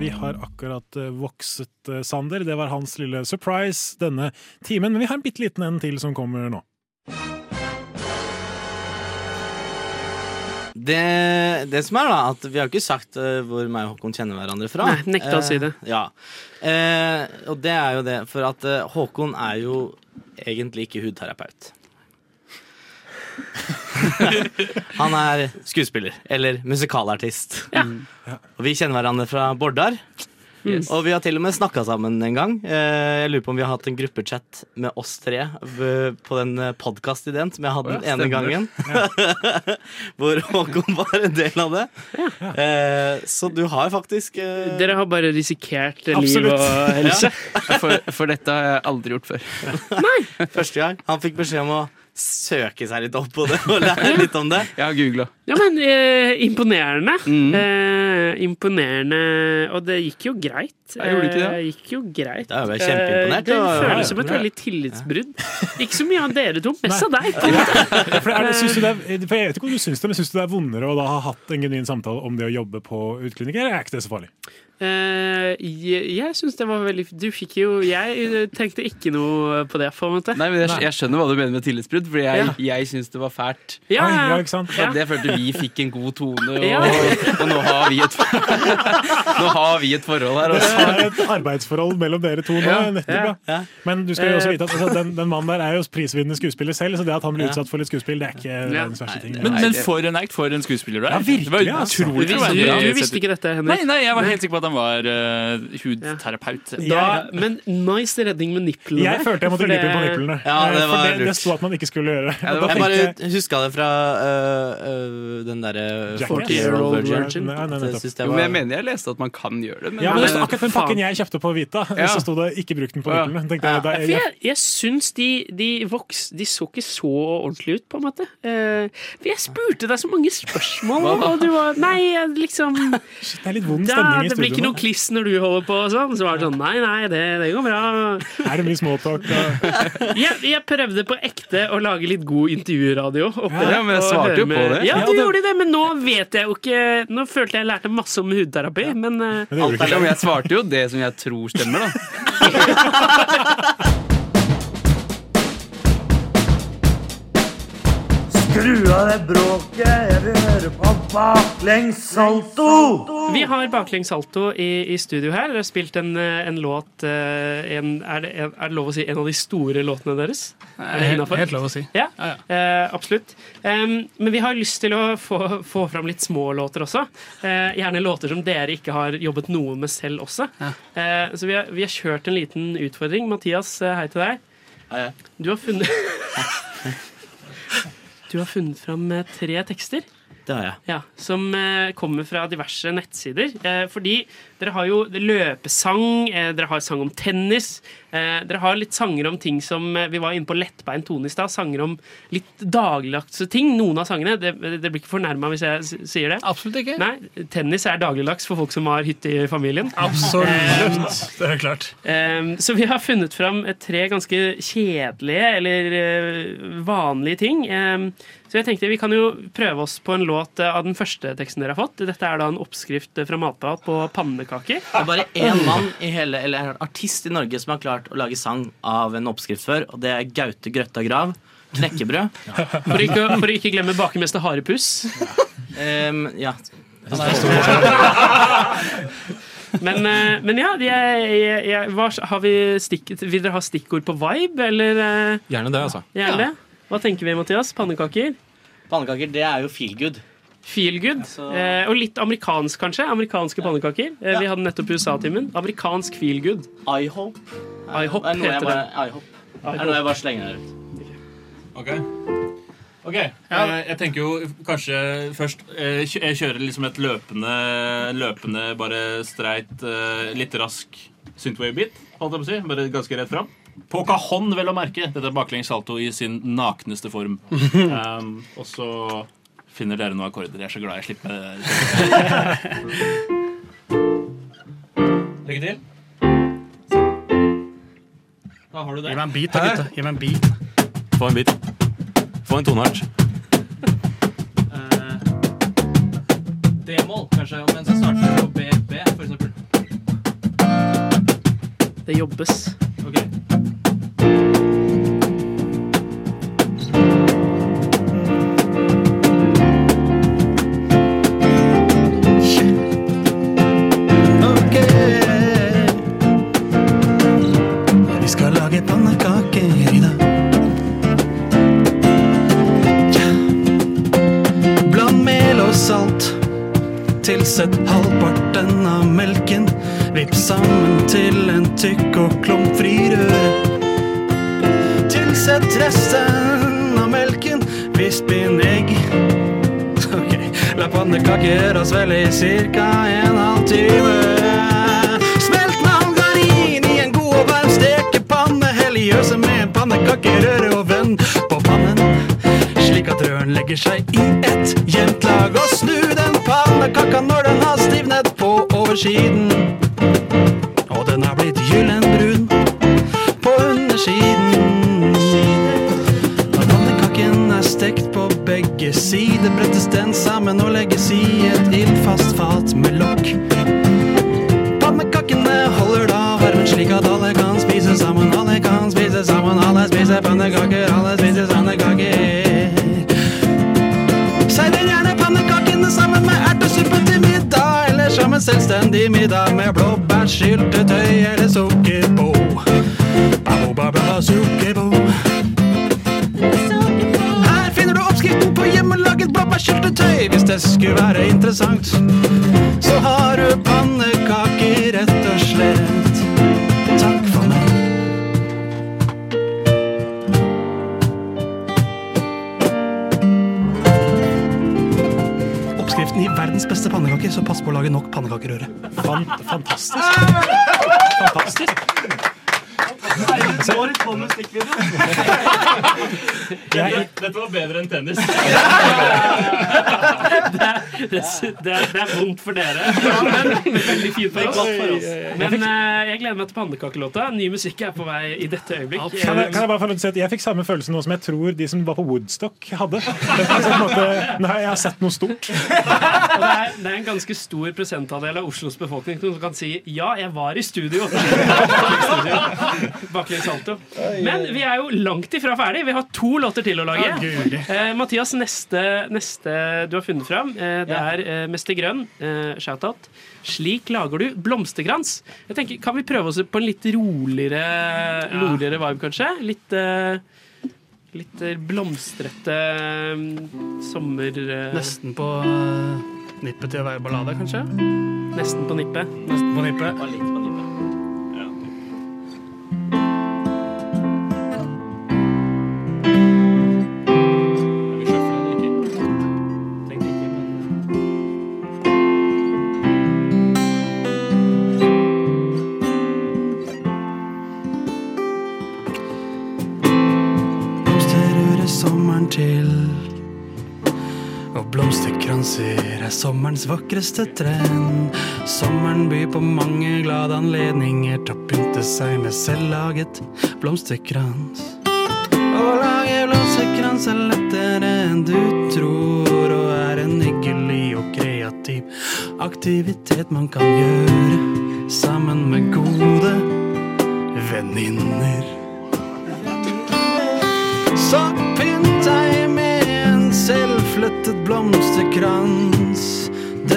E: Vi har akkurat eh, vokset eh, Sander. Det var hans lille surprise denne timen. Men vi har en bitte liten en til som kommer nå.
G: Det, det som er da, at vi har jo ikke sagt eh, hvor meg og Håkon kjenner hverandre fra.
D: Nei, nekta å si det.
G: Eh, ja. Eh, og det er jo det, for at eh, Håkon er jo egentlig ikke hudterapeut. [LAUGHS] Han er skuespiller, eller musikalartist. Og vi kjenner hverandre fra Bordar.
D: Yes.
G: Og vi har til og med snakka sammen en gang. Eh, Jeg lurer på om vi har hatt en gruppechat med oss tre v- på den podkast-ideen som jeg hadde
O: Å ja,
G: den ene gangen.
O: stemmer.
G: [LAUGHS] Hvor Håkon var en del av det. Eh, Så du har faktisk eh,
D: Dere har bare risikert eh, liv
G: Absolutt.
D: og
O: [LAUGHS]
D: helse.
O: For, for dette har jeg aldri gjort før.
G: Første gang. Han fikk beskjed om å søke seg litt opp på det og lære litt om det.
O: Jeg har googla.
D: Ja, men eh, imponerende.
O: Mm.
D: Eh, imponerende. Og det gikk jo greit.
G: Ja, gjorde det ikke det?
D: Eh, gikk jo greit.
G: Da er jeg kjempeimponert,
D: Eh, det
G: da.
D: føles som et
G: Ja.
D: veldig tillitsbrudd.
O: [LAUGHS]
D: Ikke så mye av dere to, mest av deg.
E: For, er det, synes du det er, for Jeg vet ikke om du syns det, men syns du det er vondere å da ha hatt en genuin samtale om det å jobbe på uteklinikk, eller er ikke det så farlig?
D: [LAUGHS] Eh, jeg jeg syns det var veldig Du fikk jo Jeg eh, tenkte ikke noe på det, på en måte.
O: Nei, men jeg, jeg skjønner hva du mener med tillitsbrudd. ut, fordi jeg, jeg syns det var fælt.
D: Ja, ja, ja. Ja, ikke sant?
O: Så det følte vi fikk en god tone, og,
D: Ja.
O: og nå, har vi et, nå har vi et forhold her.
E: Det
O: altså.
E: er et arbeidsforhold mellom dere to nå.
O: Ja,
E: nettopp,
O: ja,
E: ja.
O: ja.
E: Men du skal jo også vite at altså, den, den mannen der er jo prisvinnende skuespiller selv, så det at han blir
L: Ja.
E: utsatt for litt skuespill, det er ikke verdens verste ting.
L: Men, men for en act, for en skuespiller du er.
E: Ja, virkelig,
L: Det var
E: altså.
L: utrolig
E: Du
D: visste-
L: troverdig.
D: du visste ikke dette, Henrik.
L: Nei, nei, jeg var
D: Nei.
L: helt sikker på at han var eh, hudterapeut.
D: Da, men nice redning med nipplene.
E: Jeg følte jeg måtte
D: for
E: gripe
D: det-
E: inn på nipplene.
G: Ja, det
E: Eh,
G: var
E: for det, det
G: lurt.
E: sto at man ikke skulle gjøre.
G: Ja, det
E: Da
G: var,
E: tenkte
G: jeg
E: jeg-
G: bare huska det fra øh, øh, den derre
E: Jackass.
G: 40-year-old virgin.
E: Nei, nei,
G: Det
E: nettopp.
G: synes
O: Jo,
G: jeg
O: men jeg
G: var
O: mener jeg leste at man kan gjøre det. Men,
E: Ja, men det sto
O: men-
E: akkurat den pakken jeg kjøpte på Vita,
O: Ja.
E: så sto det 'ikke bruk den på
O: Ja.
E: nipplene'. Tenkte jeg, da,
D: Ja, for jeg, jeg syns de, de voks... De så ikke så ordentlig ut, på en måte. Eh, for jeg spurte deg så mange spørsmål,
E: Hva da?
D: og du var Nei, jeg liksom
E: Shit, det er litt vond
D: ja,
E: stemning i
D: Det blir ikke
E: studio
D: noe
E: nå.
D: kliss når du holder på og sånn. Så var det sånn Nei, nei, det, det går bra.
E: Er det mye småtalk? da?
D: Jeg, jeg prøvde på ekte å lage litt god intervjuradio. oppe
O: Ja, men jeg
D: og
O: svarte jo
D: høre
O: på det.
D: Ja,
O: Ja,
D: du
O: det-
D: gjorde det, men nå vet jeg jo ikke Nå følte jeg jeg lærte masse om hudterapi, men eh,
O: Alt er lov. Jeg svarte jo det som jeg tror stemmer, da.
K: Skru av det bråket, jeg vil høre på baklengs salto!
D: Vi har baklengs salto i, i studio her. Dere har spilt en, eh, en låt eh, en, er, det, en, er det lov å si en av de store låtene deres?
H: Nei,
D: Er det
H: helt-
D: innenfor?
H: helt lov å si.
D: Ja, eh, absolutt. Em, men vi har lyst til å få, få fram litt små låter også. Eh, gjerne låter som dere ikke har jobbet noe med selv også. Eh, så vi har, vi har kjørt en liten utfordring. Mathias, eh, hei til deg. Du har funnet [LAUGHS] Du har funnet fram eh, tre tekster.
G: Det har jeg.
D: Ja, som eh, kommer fra diverse nettsider. Eh, fordi dere har jo løpesang, eh, dere har sang om tennis. Eh, dere har litt sanger om ting som eh, Vi var inne på lettbeint tone i stad. Sanger om litt dagligdagse ting. Noen av sangene. Det, det blir ikke fornærma hvis jeg s- sier det.
H: Absolutt ikke.
D: Nei, Tennis er dagligdags for folk som har hytte i familien.
H: Absolutt. Det er klart.
D: Ehm, så vi har funnet fram eh, tre ganske kjedelige eller eh, vanlige ting. Ehm, så jeg tenkte vi kan jo prøve oss på en låt eh, av den første teksten dere har fått. Dette er da en oppskrift eh, fra Matprat på pannekaker.
G: det er bare én mann i hele, eller en artist i Norge som har klart å lage sang av en oppskrift før, og det er Gaute Grøtta Grav. Knekkebrød.
D: For ikke, å- for å ikke glemme bakermester Harepus.
G: Em, ja.
D: Men, eh, men ja, jeg, jeg, jeg, hva, har vi stikk, vil dere ha stikkord på vibe, eller eh,
L: Gjerne det, altså.
D: gjerne det? Hva tenker vi, Mathias? Pannekaker?
G: Pannekaker, det er jo feel good.
D: Feel good. Eh, og litt amerikansk, kanskje. Amerikanske pannekaker. Eh, Vi hadde nettopp USA-timen. Amerikansk feel good.
G: I hope.
D: I hope
G: Det er noe jeg
D: heter
G: bare,
D: det.
G: I hope. Det er noe jeg bare slenger der ut.
L: Ok. Ok, eh, Jeg tenker jo kanskje først eh, kjø- Jeg kjører liksom et løpende, løpende bare streit, eh, litt rask synthwave-beat. holdt jeg på å si, Bare ganske rett fram. På cajon, vel å merke. Dette er baklengs salto i sin nakneste [LAUGHS] form. Um, og så finner dere noen akkorder. Jeg er så glad jeg slipper Lykke til. Da har du det.
H: Gi meg en bit, da, gutta. Gi meg en bit.
B: Få en bit. Få en toneart.
O: D-mål, kanskje, mens jeg starter på BB, for eksempel.
D: Det jobbes.
F: Vi skal lage pannekaker i dag. Ja. Bland mel og salt. Tilsett halvparten av melken. Vipp sammen til en tykk og klumpfri røre. Tilsett resten av melken. Visp inn egg. Ok, La pannekaker og svelle i cirka en halv time. Smelt margarin i en god og varm stekepanne. Hell i øse med en pannekakerøre og vend på pannen. Slik at røren legger seg i ett jevnt lag. Og snu den pannekaka når den har stivnet på oversiden. Og den har blitt gyllenbrun på undersiden. Når pannekaken er stekt på begge sider, brettes den sammen og legges i et ildfast fat med lokk. Pannekakene holder da varmen slik at alle kan spise sammen. Alle kan spise sammen, alle spiser pannekaker, alle spiser pannekaker. til middag med blåbærsyltetøy eller sukkerbo. Babo, babo, sukkerbo. Her finner du oppskriften på hjemmelaget blåbærsyltetøy, hvis det skulle være interessant. Så har du pannekaker, rett og slett. Takk for meg.
I: Oppskriften i verdens beste pannekaker, så pass på å lage nok pannekakerøre.
E: fantastisk. Fantastisk.
O: Årets Bonde musikkvideo. Dette, dette var bedre enn tennis.
D: [LAUGHS] Det, det, det er vondt for dere, men veldig fint for oss. Men eh, jeg gleder meg til pannekakelåta. Ny musikk er på vei i dette øyeblikk.
E: Kan jeg, kan jeg bare få lov til å si at jeg fikk samme følelse nå som jeg tror de som var på Woodstock, hadde. Altså, på en måte, nei, jeg har sett noe stort.
D: Og det, er, det er en ganske stor prosentandel av Oslos befolkning som kan si ja, jeg var i
O: [LAUGHS]
D: studio. Baklengs salto. Men vi er jo langt ifra ferdig. Vi har to låter til å lage.
O: Å, Gud.
D: Eh, Mathias, neste, neste du har funnet fram, eh, det er eh, Mester Grønn. Eh, Shoutout. Slik lager du blomsterkrans. Jeg tenker, Kan vi prøve oss på en litt roligere, roligere vibe, kanskje? Litt eh, Litt eh, blomstrete eh, sommer... eh,
H: Nesten på eh, nippet til å være ballade, kanskje?
D: Nesten på nippet.
H: Nesten på nippet.
F: Blomster hører sommeren til Og blomsterkranser er sommerens vakreste trend Sommeren byr på mange glade anledninger Til å pynte seg med selvlaget blomsterkrans Å lage blomsterkrans er lettere enn du tror Og er en hyggelig og kreativ aktivitet man kan gjøre Sammen med gode venninner så pynt deg med en selvflettet blomsterkrans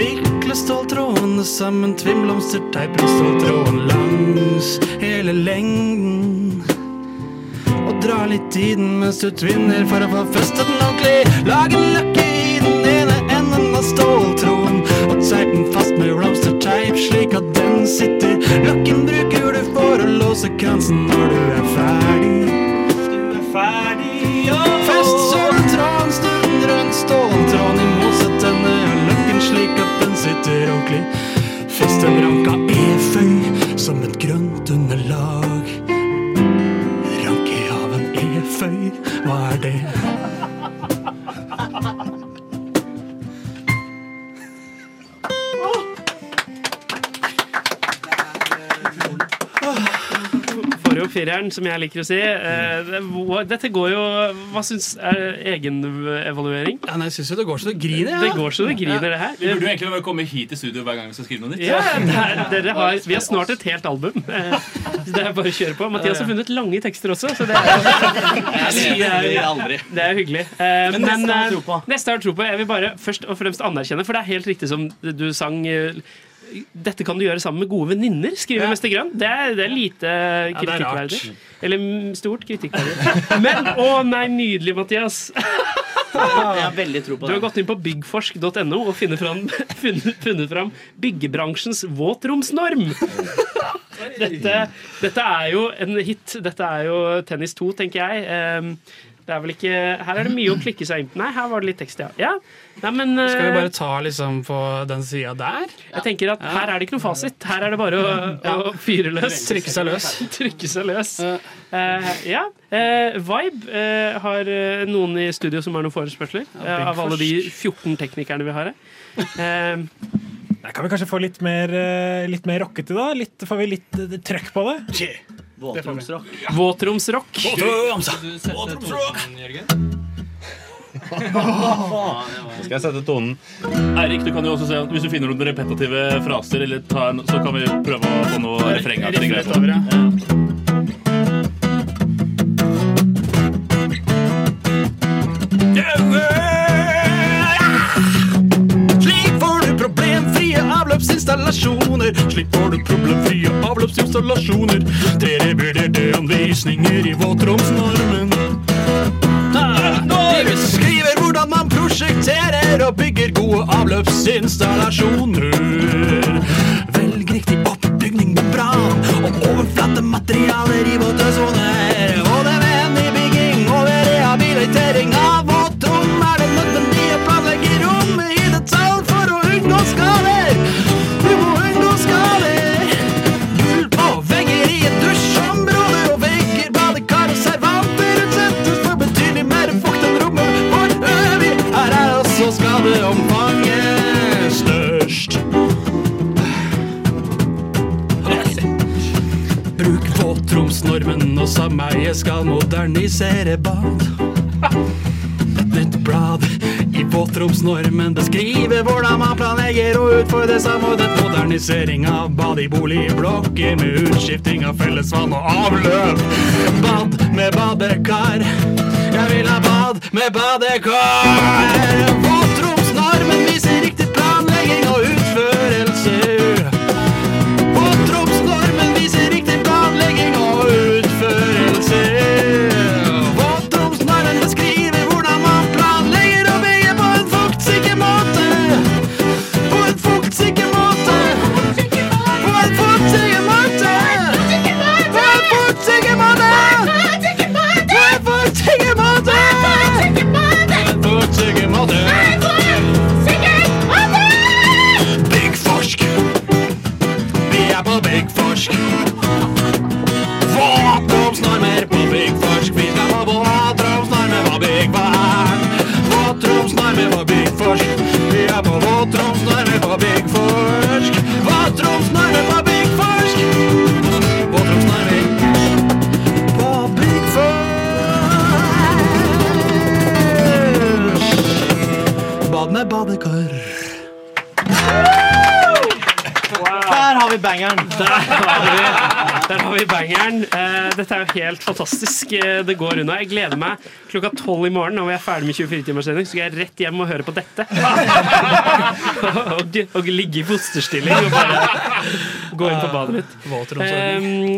F: Vikle ståltrådene sammen, tvinn blomsterteip rundt ståltråden langs hele lengden. Og dra litt i den mens du tvinner for å få festet den ordentlig. Lag en løkke i den ene enden av ståltråden, og teip den fast med blomsterteip slik at den sitter. Løkken bruker du for å låse kransen når du er ferdig. Fest sølvtråden stunden rundt ståltråden i mosetene og løkken slik at den sitter ordentlig. Fest en ranka eføy som et grønt underlag. Ranke av en eføy, hva er det?
D: Får jo fireren, som jeg liker å si. Eh, det- hvor- Dette går jo Hva syns er egenevaluering?
H: Ja, nei, jeg syns jo det går så det griner.
D: Det går så det griner, det her.
L: Vi burde jo egentlig bare komme hit til studio hver gang vi skal skrive noe nytt.
D: Ja, det er, dere har, vi har snart et helt album. Eh, så Det er bare å kjøre på. Mathias har funnet lange tekster også, så det er, det er, det er hyggelig. Eh,
O: Men neste har vi
D: eh, Neste har jeg tro på. Jeg vil bare først og fremst anerkjenne, for det er helt riktig som du sang eh, dette kan du gjøre sammen med gode venninner, skriver Mester Grønn. Det er, det er lite
H: det er rart.
D: kritikkverdig. Eller mm, stort kritikkverdig. Men å nei, nydelig, Mathias!
O: Jeg har veldig tro på
D: Du
O: det.
D: har gått inn på byggforsk.no og funnet fram, [LAUGHS] funnet, funnet fram byggebransjens våtromsnorm. Dette, dette er jo en hit. Dette er jo Tennis 2, tenker jeg. Ehm, Det er vel ikke, her er det mye å klikke seg inn på. Nei, her var det litt tekst, ja. ja. Nei, men,
H: Skal vi
D: eh,
H: bare ta liksom på den sida der?
D: Jeg tenker at her er det ikke noe fasit. Her er det bare å,
H: [LAUGHS]
D: å fyre løs.
H: Trykke seg løs.
D: [LAUGHS] Trykke seg løs. Eh, ja. Eh, Vibe eh, har eh, noen i studio som har noen forespørsler. eh, av alle de 14 teknikerne vi har her.
H: [LAUGHS]
D: Eh,
E: Der kan vi kanskje få litt mer, eh, litt mer rockete, da? Litt, får vi litt eh, trøkk på det?
G: Våtromsrock.
D: Våtromsrock.
B: Nå skal jeg sette tonen. Eirik, du kan jo også se hvis du finner noen repetitive fraser, eller ta en, så kan vi prøve å få noe refreng. av det
P: Rett
B: greiene.
P: over, ja.
Q: Slik får du problemfrie avløpsinstallasjoner. Slik får du problemfrie avløpsinstallasjoner. Tre reviderte anvisninger i våtromsnormen. Ah, De beskriver hvordan man prosjekterer og bygger gode avløpsinstallasjoner. Velg riktig oppbygning med bra og overflatematerialer i våte soner. Både vennlig bygging og ved rehabilitering av våtrom er det nødvendig å planlegge rommet i detalj for å unngå skader. Du må unngå skader. Gulv og vegger i et dusjområde og vegger, badekar og servanter utsettes for betydelig mer fukt enn rommet for øvrig. Her er altså skadeomfanget størst. Bruk våtromsnormen, og sameiet skal modernisere bad. Et nytt blad i våtromsnormen beskriver hvordan man planlegger og utfordrer samordnet modernisering av bad i boligblokker med utskifting av fellesvann og avløp. Bad med badekar. Jeg vil ha bad med badekar. Våtromsnormen viser riktig planlegging og utførelse. Våtromsnormen viser riktig planlegging og utførelse. Våtromsnormen beskriver hvordan man planlegger og bygger på en fuktsikker måte. På en fuktsikker måte. På en fuktsikker måte. På en fuktsikker måte. På en fuktsikker måte. På en fuktsikker måte. Big forsk. Vi er på Big Forsk. Våtromsnormer på Big Forsk. Vi skal på våtromsnormer på Big Forsk. Våtromsnormer på Big Forsk. Vi er på våtromsnormer på Big Forsk. Våtromsnormer på Big Forsk. Våtromsnormer på Big Forsk. Bad med badekar.
G: Der har vi bangeren.
D: Der har vi bangeren. Eh, dette er jo helt fantastisk. Eh, det går unna. Jeg gleder meg. Klokka tolv i morgen når vi er ferdig med 24 timers sending, så skal jeg rett hjem og høre på
H: [LAUGHS]
D: dette. [LAUGHS] og, og ligge i fosterstilling og bare gå inn på badet mitt. Eh,
H: Våtromsordning.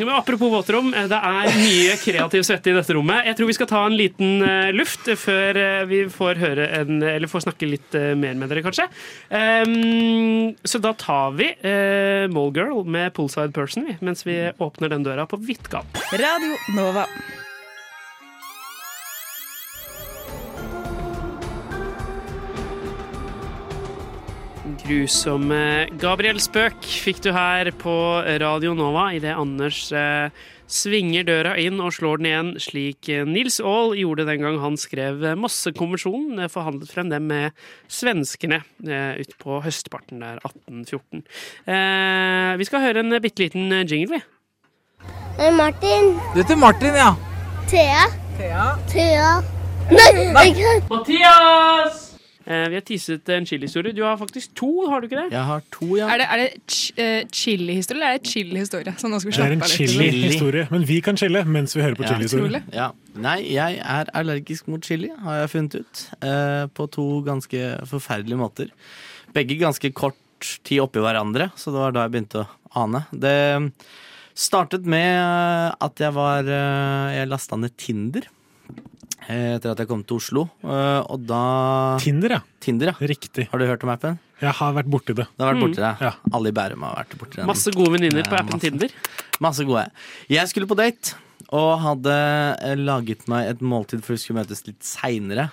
D: men apropos våtrom, eh, det er mye kreativ svette i dette rommet. Jeg tror vi skal ta en liten eh, luft før eh, vi får, høre en, eller får snakke litt eh, mer med dere, kanskje. Ehm, så da tar vi uh, Mallgirl med Poolside Person vi, mens vi åpner den døra på vidt gap.
R: Radio Nova.
D: Grusomme eh, Gabriel Spøk fikk du her på Radio Nova idet Anders eh, svinger døra inn og slår den igjen, slik eh, Nils Aall gjorde den gang han skrev eh, Mossekonvensjonen, eh, forhandlet frem den med svenskene eh, utpå høstparten der 1814. Eh, vi skal høre en eh, bitte liten eh, jingle, vi.
A: Eh, Martin.
D: Det heter Martin, ja.
A: Thea. Thea. Nei, jeg kan
D: Mathias! Eh, vi har teaset en chilihistorie. Du har faktisk to, har du ikke det?
G: Jeg har to,
O: Er det, er det ch eh, chili-historie, eller er det chill-historie? Så nå skal vi
E: Det er
O: slappe
E: en
O: av litt.
E: chili-historie, men vi kan chille mens vi hører på
G: Ja.
E: chili-historie.
G: Ja. Nei, jeg er allergisk mot chili, har jeg funnet ut. Eh, på to ganske forferdelige måter. Begge ganske kort tid oppi hverandre, så det var da jeg begynte å ane. Det startet med eh, at jeg var eh, Jeg lasta ned Tinder. eh, Etter at jeg kom til Oslo, eh, og da
E: Tinder, ja.
G: Tinder, ja.
E: Riktig.
G: Har du hørt om appen?
E: Jeg har vært borti det.
G: Det har vært
E: Mm.
G: borti det. Alle i Bærum har vært borti den.
D: Masse gode venninner på
G: Ja,
D: appen
G: masse.
D: Tinder.
G: Masse gode. Jeg skulle på date, Og hadde eh, laget meg et måltid for vi skulle møtes litt seinere.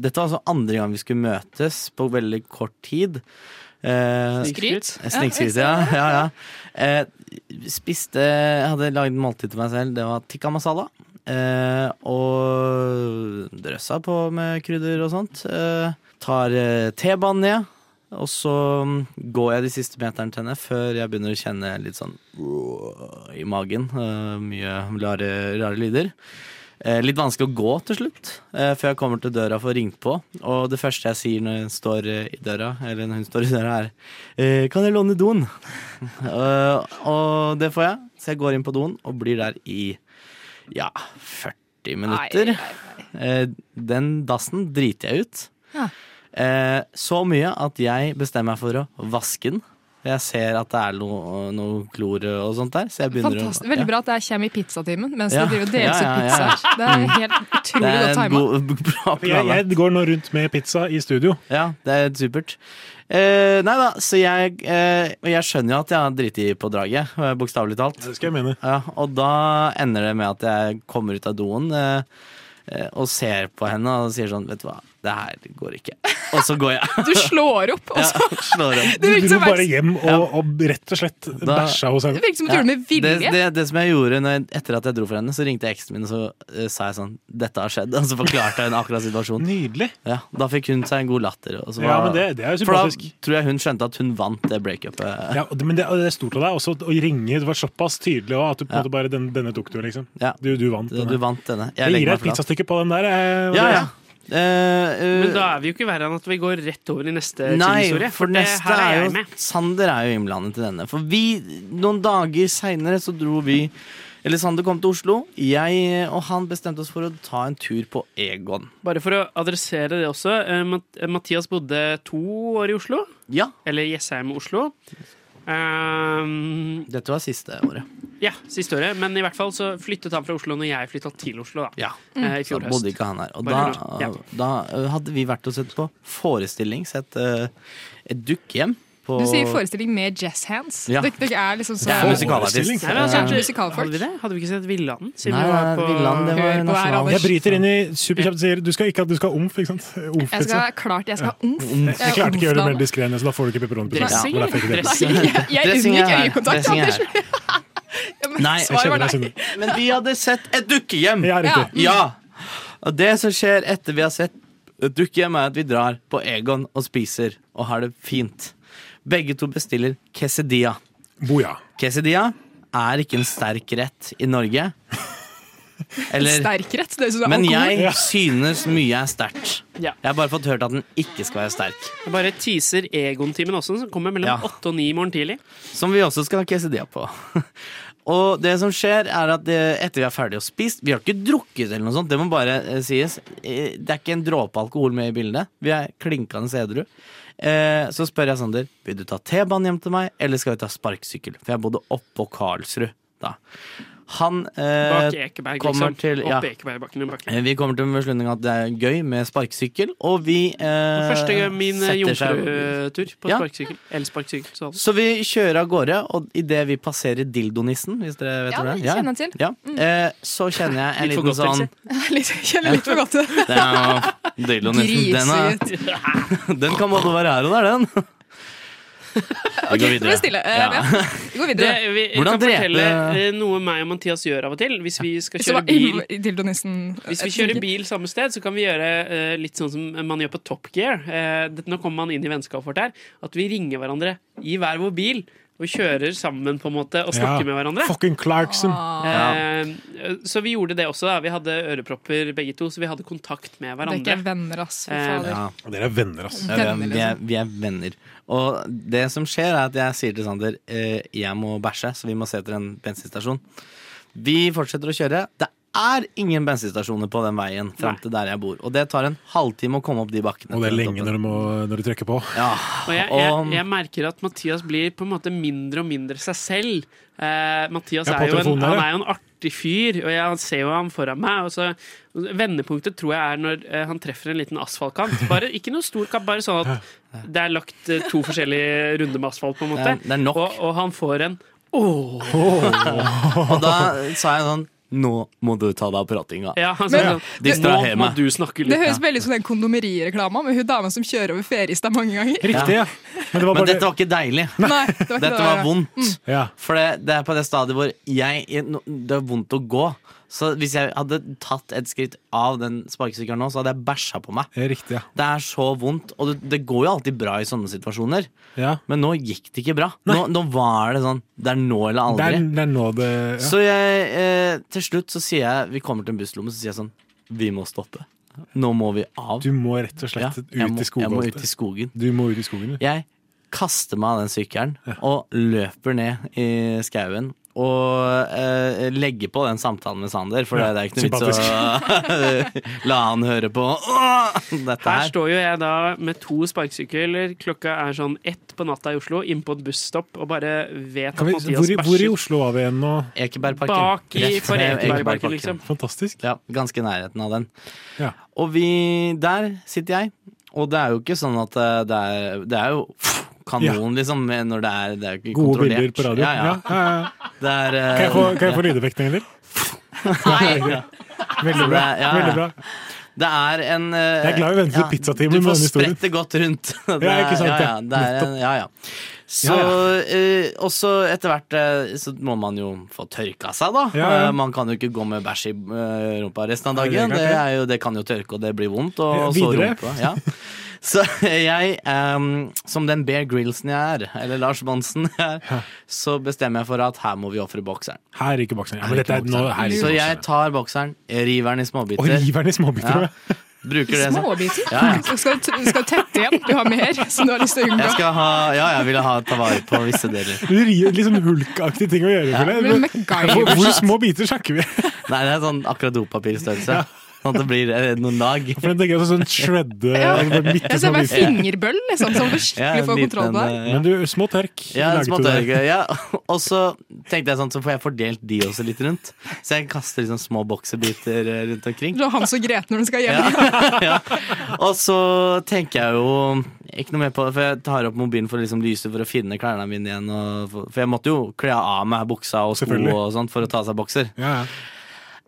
G: dette var altså andre gang vi skulle møtes på veldig kort tid. Eh,
Q: Snikskryt?
G: eh, Snikskryt, ja. ja, ja. Eh, spiste Jeg hadde lagd måltid til meg selv. Det var tikka masala. Eh, og drøssa på med krydder og sånt. Eh, tar eh, T-banen ned. Og så mm, går jeg de siste meterne til henne før jeg begynner å kjenne litt sånn «Åh» i magen. Eh, mye rare, rare lyder. Eh, litt vanskelig å gå til slutt, eh, før jeg kommer til døra for å ringe på. Og det første jeg sier når hun står eh, i døra, eller når hun står i døra, er eh, 'Kan jeg låne doen?' [LAUGHS] Eh, og det får jeg, så jeg går inn på doen og blir der i ja, 40 minutter. Eh, den dassen driter jeg ut.
Q: Ja.
G: Eh, så mye at jeg bestemmer meg for å vaske den. Jeg ser at det er noe, noe klor og sånt der, så jeg begynner
Q: Fantastisk.
G: å ja.
Q: Veldig bra at det her kommer i pizzatimen mens
G: Ja.
Q: det driver og deles
G: Ja, ja,
Q: ut
G: ja.
Q: pizzaer. Det er helt utrolig
G: Det er
Q: godt
G: en
Q: tima.
G: god- [LAUGHS] bra
E: Jeg,
G: planlagt.
E: jeg går nå rundt med pizza i studio.
G: Ja, det er supert. Eh, nei da, så jeg eh, Og jeg skjønner jo at jeg har driti på draget, eh, bokstavelig talt.
E: Det skal jeg mene.
G: Ja, og da ender det med at jeg kommer ut av doen eh, eh, og ser på henne og sier sånn, vet du hva, det her går ikke. Og så går
Q: [LAUGHS]
G: jeg.
Q: Du slår opp, og
G: Ja,
Q: så
G: slår om.
Q: Det
E: Du
Q: virker
E: dro
Q: som
E: bare hjem og, og rett og slett
G: Da-
E: bæsja hos henne.
Q: Det virker som at du gjorde det med vilje.
G: Det, det, det som jeg gjorde når, etter at jeg dro for henne, så ringte jeg eksen min og så eh, sa jeg sånn Dette har skjedd. [LAUGHS] Og så forklarte jeg henne akkurat situasjonen.
E: Nydelig
G: ja, Da fikk hun seg en god latter. Og så
E: Ja, men det- det er jo
G: For
E: sympatisk.
G: da tror jeg hun skjønte at hun vant det breakupet.
E: Ja, og det- men det, og det er stort av deg også å ringe. Det var såpass tydelig også, at du på en måte bare den, denne tok du, liksom. Du, du vant denne.
G: Du vant denne.
E: Jeg,
G: legger
E: gir deg
G: meg
E: et
G: flat.
E: pizzastykke på den der. eh,
G: Ja, ja.
E: Andreas.
G: Men
D: Men da er vi jo ikke verre enn at vi går rett over i neste
G: Nei,
D: chilihistorie.
G: for
D: det
G: neste
D: her
G: er
D: jeg
G: jo
D: med.
G: Sander er jo innblandet i denne. For vi, noen dager seinere så dro vi Eller Sander kom til Oslo. Jeg eh, og han bestemte oss for å ta en tur på Egon.
D: Bare for å adressere det også. eh, Mat- eh, Mathias bodde to år i Oslo.
G: Ja.
D: Eller Jessheim i Oslo. Ehm,
G: Dette var siste året.
D: ja, siste året. Men i hvert fall så flyttet han fra Oslo når jeg flytta til Oslo. da. Eh, I
G: Så
D: fjor
G: da
D: høst.
G: bodde ikke han her. Og da,
D: Bare i fjor, ja.
G: da eh, hadde vi vært og sett på forestilling. Sett eh, et dukkehjem på
Q: Du sier forestilling med jazz hands.
G: Ja.
Q: Dere, dere er liksom så
G: Jeg er musikalartist. Forestilling?
Q: Nei, men altså,
G: Ja.
Q: musikalfolk. Hadde
D: vi det? Hadde vi ikke sett Villanden?
G: Nei, nei, Villanden, det var nasjonal.
E: Jeg bryter inn i superkjapt og sier du skal ikke at du skal ha omf, ikke sant? Omf,
Q: Jeg skal
E: pizza.
Q: klart jeg skal ha omf.
G: Mm.
E: Jeg klarte ikke å gjøre det mer diskré, så da får du ikke pepperonipizzas.
Q: Dressing?
E: Ja, derfor ikke det.
Q: Dressing? [LAUGHS] Jeg, jeg
G: Dressing er
Q: unngikk
G: her.
Q: øyekontakt.
G: Dressing er
Q: Anders. Ja, [LAUGHS] men
G: Nei,
Q: svaret var nei.
G: Men vi hadde sett et dukkehjem.
E: Ja,
Q: riktig.
G: Ja. Og det som skjer etter vi har sett et dukkehjem, er at vi drar på Egon og spiser og har det fint. Begge to bestiller quesadilla.
E: Boja.
G: Quesadilla er ikke en sterk rett i
Q: [LAUGHS]
G: Norge. Eller-
Q: Sterk rett. Det er sånn
G: men
Q: alkohol.
G: jeg synes mye er sterkt.
D: Ja.
G: Jeg har bare fått hørt at den ikke skal være sterk.
D: Jeg bare teaser Egon-timen også, som kommer mellom åtte og ni i morgen tidlig.
G: Som vi også skal ha quesadilla på. [LAUGHS] Og det som skjer er at det, etter vi er ferdig og spist Vi har ikke drukket eller noe sånt, det må bare eh, sies. Eh, Det er ikke en dråpe alkohol med i bildet. Vi er klinkende edru. Eh, så spør jeg Sander vil du ta T-banen hjem til meg, eller skal vi ta sparkesykkel. For jeg bodde oppå Karlsrud da. Han eh,
D: Bak Ekeberg,
G: kommer
D: liksom.
G: til ja,
D: Opp Ekebergbakken en bakke.
G: eh, Vi kommer til beslutning at det er gøy med sparkesykkel, og vi eh,
D: Første gang min eh,
G: setter seg-
D: jomfrutur på
G: Ja.
D: sparkesykkel. Elsparkesykkel. så-
G: så vi kjører av gårde, og idet vi passerer dildonissen Hvis dere vet
Q: Ja,
G: hvor det er.
Q: det kjenner jeg til.
G: Ja. Eh, så kjenner jeg
E: [LAUGHS]
G: en
Q: Litt for
G: liten
Q: godt,
G: sånn
Q: Litt, jeg kjenner litt for godt til det.
G: Den er- [LAUGHS] Dildonissen, den, er- den kan både være her og der, [LAUGHS] den. Vi går
D: nå er det stille. Eh, ja.
Q: Vi går videre.
D: Det, vi
G: Hvordan
D: kan
G: drepe-
D: fortelle eh, noe meg og Mathias gjør av og til. Hvis vi skal
Q: Så
D: kjøre
Q: var
D: bil
Q: i- dildonissen
D: Hvis vi kjører bil samme sted, så kan vi gjøre eh, litt sånn som man gjør på Top Gear. Eh, det, nå kommer man inn i vennskapet vårt her. At vi ringer hverandre i hver vår bil. Og kjører sammen på en måte og snakker med hverandre. Ah.
E: Fucking Clarkson.
Q: Ah.
D: Eh, så vi gjorde det også. da Vi hadde ørepropper begge to, så vi hadde kontakt med
Q: Det er ikke
D: hverandre.
Q: venner, ass. Fy
D: Eh,
Q: fader.
G: Ja.
E: Dere er venner, ass.
G: Ja, vi, er, vi, er, vi er venner. Og det som skjer, er at jeg sier til Sander eh, jeg må bæsje, så vi må se etter en bensinstasjon. Vi fortsetter å kjøre. Det er ingen bensinstasjoner på den veien fram til der jeg bor. Og det tar en halvtime å komme opp de bakkene.
E: Og det er
G: til den
E: lenge
G: toppen.
E: når du, må, når du trykker på.
G: Ja.
D: Og jeg, jeg,
Q: um,
D: jeg merker at Mathias blir på en måte mindre og mindre seg selv. Eh, Mathias
E: Ja, på
D: er jo, en,
E: telefonen der,
D: han
E: ja.
D: er jo en artig fyr, og jeg ser jo han foran meg. Og så, vendepunktet tror jeg er når eh, han treffer en liten asfaltkant. Bare, ikke noe stor kant, bare sånn at det er lagt eh, to forskjellige runder med asfalt, på en måte.
G: Det er- det er nok.
D: Og, og han får en Åh
G: og da sa jeg sånn Nå må du ta deg av pratinga.
D: Ja, han
Q: sa sånn,
G: Distraher
Q: nå må
G: meg.
D: du snakke
Q: Det høres veldig ut som den kondomerireklama med hun dama som kjører over feriestad mange ganger.
G: [LAUGHS] Men,
Q: var bare-
G: dette var ikke deilig.
Q: Nei, det [LAUGHS] var ikke
G: Dette
Q: det.
G: var vondt.
Q: Mm.
G: For det, det er på det stadiet hvor jeg, jeg nå- Det er vondt å gå. Så hvis jeg hadde tatt et skritt av den sparkesykkelen nå, så hadde jeg bæsja på meg.
E: Riktig, ja.
G: Det er så vondt. Og det, det går jo alltid bra i sånne situasjoner,
E: Ja.
G: men nå gikk det ikke bra. Nå, nå var det sånn Det er nå eller
E: Det er,
G: aldri.
E: det er nå det ja.
G: Så jeg, eh, til slutt så sier jeg Vi kommer til en busslomme, så sier jeg sånn Vi må stoppe. Nå må vi av.
E: Du må rett og slett ut
G: jeg
E: i
G: må,
E: skogen
G: Jeg må
E: ofte.
G: ut i skogen.
E: Du må ut i skogen, du.
G: Jeg kaster meg av den sykkelen og løper ned i skauen. Og eh, legger på den samtalen med Sander, for
D: Ja,
G: det er ikke noe vits å [LAUGHS] la han høre på «Åh, dette
D: Her
G: her.
D: står jo jeg da med to sparkesykler, klokka er sånn ett på natta i Oslo, inn på et busstopp og bare vet at
E: Kan vi, hvor,
D: Mathias
E: i- hvor i
D: bæsjer.
E: Oslo var vi igjen nå?
G: Ekebergparken.
D: Bak
G: Rett
D: i
G: ved
D: Ekebergparken,
G: Ekebergparken.
D: liksom.
E: Fantastisk.
G: Ja, ganske i nærheten av den.
E: Ja.
G: Og vi, der sitter jeg, og det er jo ikke sånn at eh, det er, det er jo kanon, liksom, når det er, det er ikke
E: Gode
G: kontrollert.
E: bilder på radio.
G: Ja, ja.
E: Ja, ja, ja.
G: Det er, eh,
E: Kan jeg få, kan jeg få
G: ja.
E: lydeffekten, eller?
G: Nei.
E: [LAUGHS] Veldig bra. Veldig bra.
G: Det er en eh,
E: Jeg er glad vi venter til pizzatimen
G: Du
E: med
G: får
E: denne historien.
G: sprette godt rundt.
E: [LAUGHS]
G: Det
E: Ja, ikke sant,
G: er- ja, ja,
E: ja.
G: det er en,
E: Nettopp.
G: ja, ja. Så, eh, og så etter hvert eh, så må man jo få tørka seg, da.
E: Ja, ja.
G: Eh, man kan jo ikke gå med bæsj i eh, rumpa resten av
E: Nei, det er
G: dagen. Det,
E: klart det.
G: er jo, det kan jo tørke, og det blir vondt. Og,
E: Ja,
G: og så
E: videre.
G: rumpa. Ja. [LAUGHS] Så jeg, ehm, som den Bear Grillsen jeg er, eller Lars Monsen jeg er, så bestemmer jeg for at her må vi ofre bokseren.
E: Her ryker bokseren. Ja, men dette er nå her ryker
G: Så jeg
E: bokseren.
G: tar bokseren, river den i småbiter.
E: Og river den i småbiter, ja.
G: Bruker det sånn.
Q: Småbiter?
G: Ja, ja.
Q: Så Skal, du- skal du tette igjen? Du har mer som du har lyst til å
G: Jeg
Q: unngå.
G: skal ha, ja, jeg ville ha ta vare på visse deler.
E: Du rir litt sånn hulkaktige ting å gjøre.
G: Ja.
E: føler jeg.
G: Men MacGyver-
E: Hvor, hvor små biter snakker vi? [LAUGHS]
G: Nei, det er sånn akkurat dopapirstørrelse. Sånn at det blir eh, noen dag.
E: For den tenker jeg også sånn shredde
Q: Ja.
E: altså, bitte
Q: Jeg ser
E: små
Q: bare
E: biter.
Q: fingerbøll, liksom, som du skikkelig får kontroll på.
G: eh,
Q: her.
E: Men du, små tørk.
G: Ja,
E: laget
G: små
E: du der.
G: tørk, ja. [LAUGHS] Og så tenkte jeg sånn, så får jeg fordelt de også litt rundt. Så jeg kaster liksom små boksebiter eh, rundt omkring.
Q: Du har Hans og Grete når du skal hjem. [LAUGHS]
G: Og så tenker jeg jo ikke noe mer på det, for jeg tar opp mobilen for å liksom lyse for å finne klærne mine igjen. Og, for- for jeg måtte jo kle av meg buksa og sko
E: Selvfølgelig.
G: og sånt for å ta av seg bokser.
E: Ja, ja.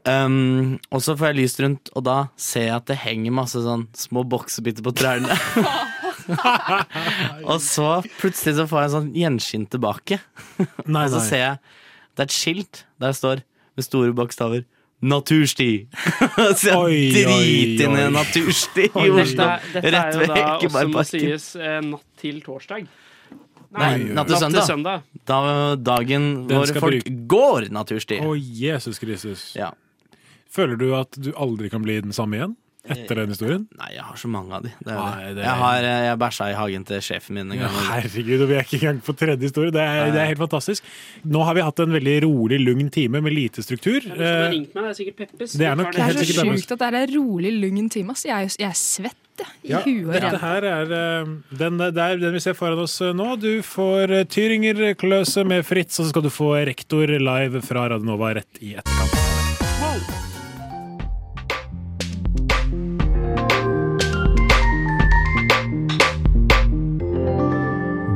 G: Um, og så får jeg lyst rundt, og da ser jeg at det henger masse sånn små boksebiter på
Q: [LAUGHS]
G: trærne. [LAUGHS] og så plutselig så får jeg sånn gjenskinn tilbake.
E: Nei,
G: og så
E: nei.
G: ser jeg det er et skilt der det står med store bokstaver 'Natursti'. [LAUGHS] så
E: Oi,
G: jeg
E: oi,
G: driter
E: oi.
G: ned natursti i
E: Oi.
G: Oslo.
D: Dette, dette
G: Rett
D: er jo
G: ved
D: da også må
G: Ekebergparken.
D: sies eh, natt til torsdag.
G: Nei, natt til søndag. Da, dagen
E: Den
G: hvor
E: skal
G: folk går natursti.
E: Å, Jesus Kristus.
G: Ja.
E: Føler du at du aldri kan bli den samme igjen? Etter den historien?
G: Nei, jeg har så mange av de. Det er jo
E: Nei,
G: det.
E: det er-
G: Jeg, har, eh, jeg bæsja i hagen til sjefen min en
E: Ja,
G: gang.
E: herregud, og vi er ikke engang på tredje historie. Det er, det er helt fantastisk. Nå har vi hatt en veldig rolig, lugn time med lite struktur.
D: Hvis han har
E: Eh,
D: ringt meg, det er sikkert Peppes.
E: det er nok
Q: Det er
E: helt
Q: så
E: sikkert
Q: sjukt at det er en rolig, lugn time. ass. Jeg er, jeg er svett jeg, i
E: Ja,
Q: huet og
E: dette
Q: ræva.
E: her er eh, den, der, den vi ser foran oss eh, nå. Du får eh, Tyringer Kløse med Fritz, og så skal du få Rektor live fra Radionova rett i etterkant.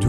S: Du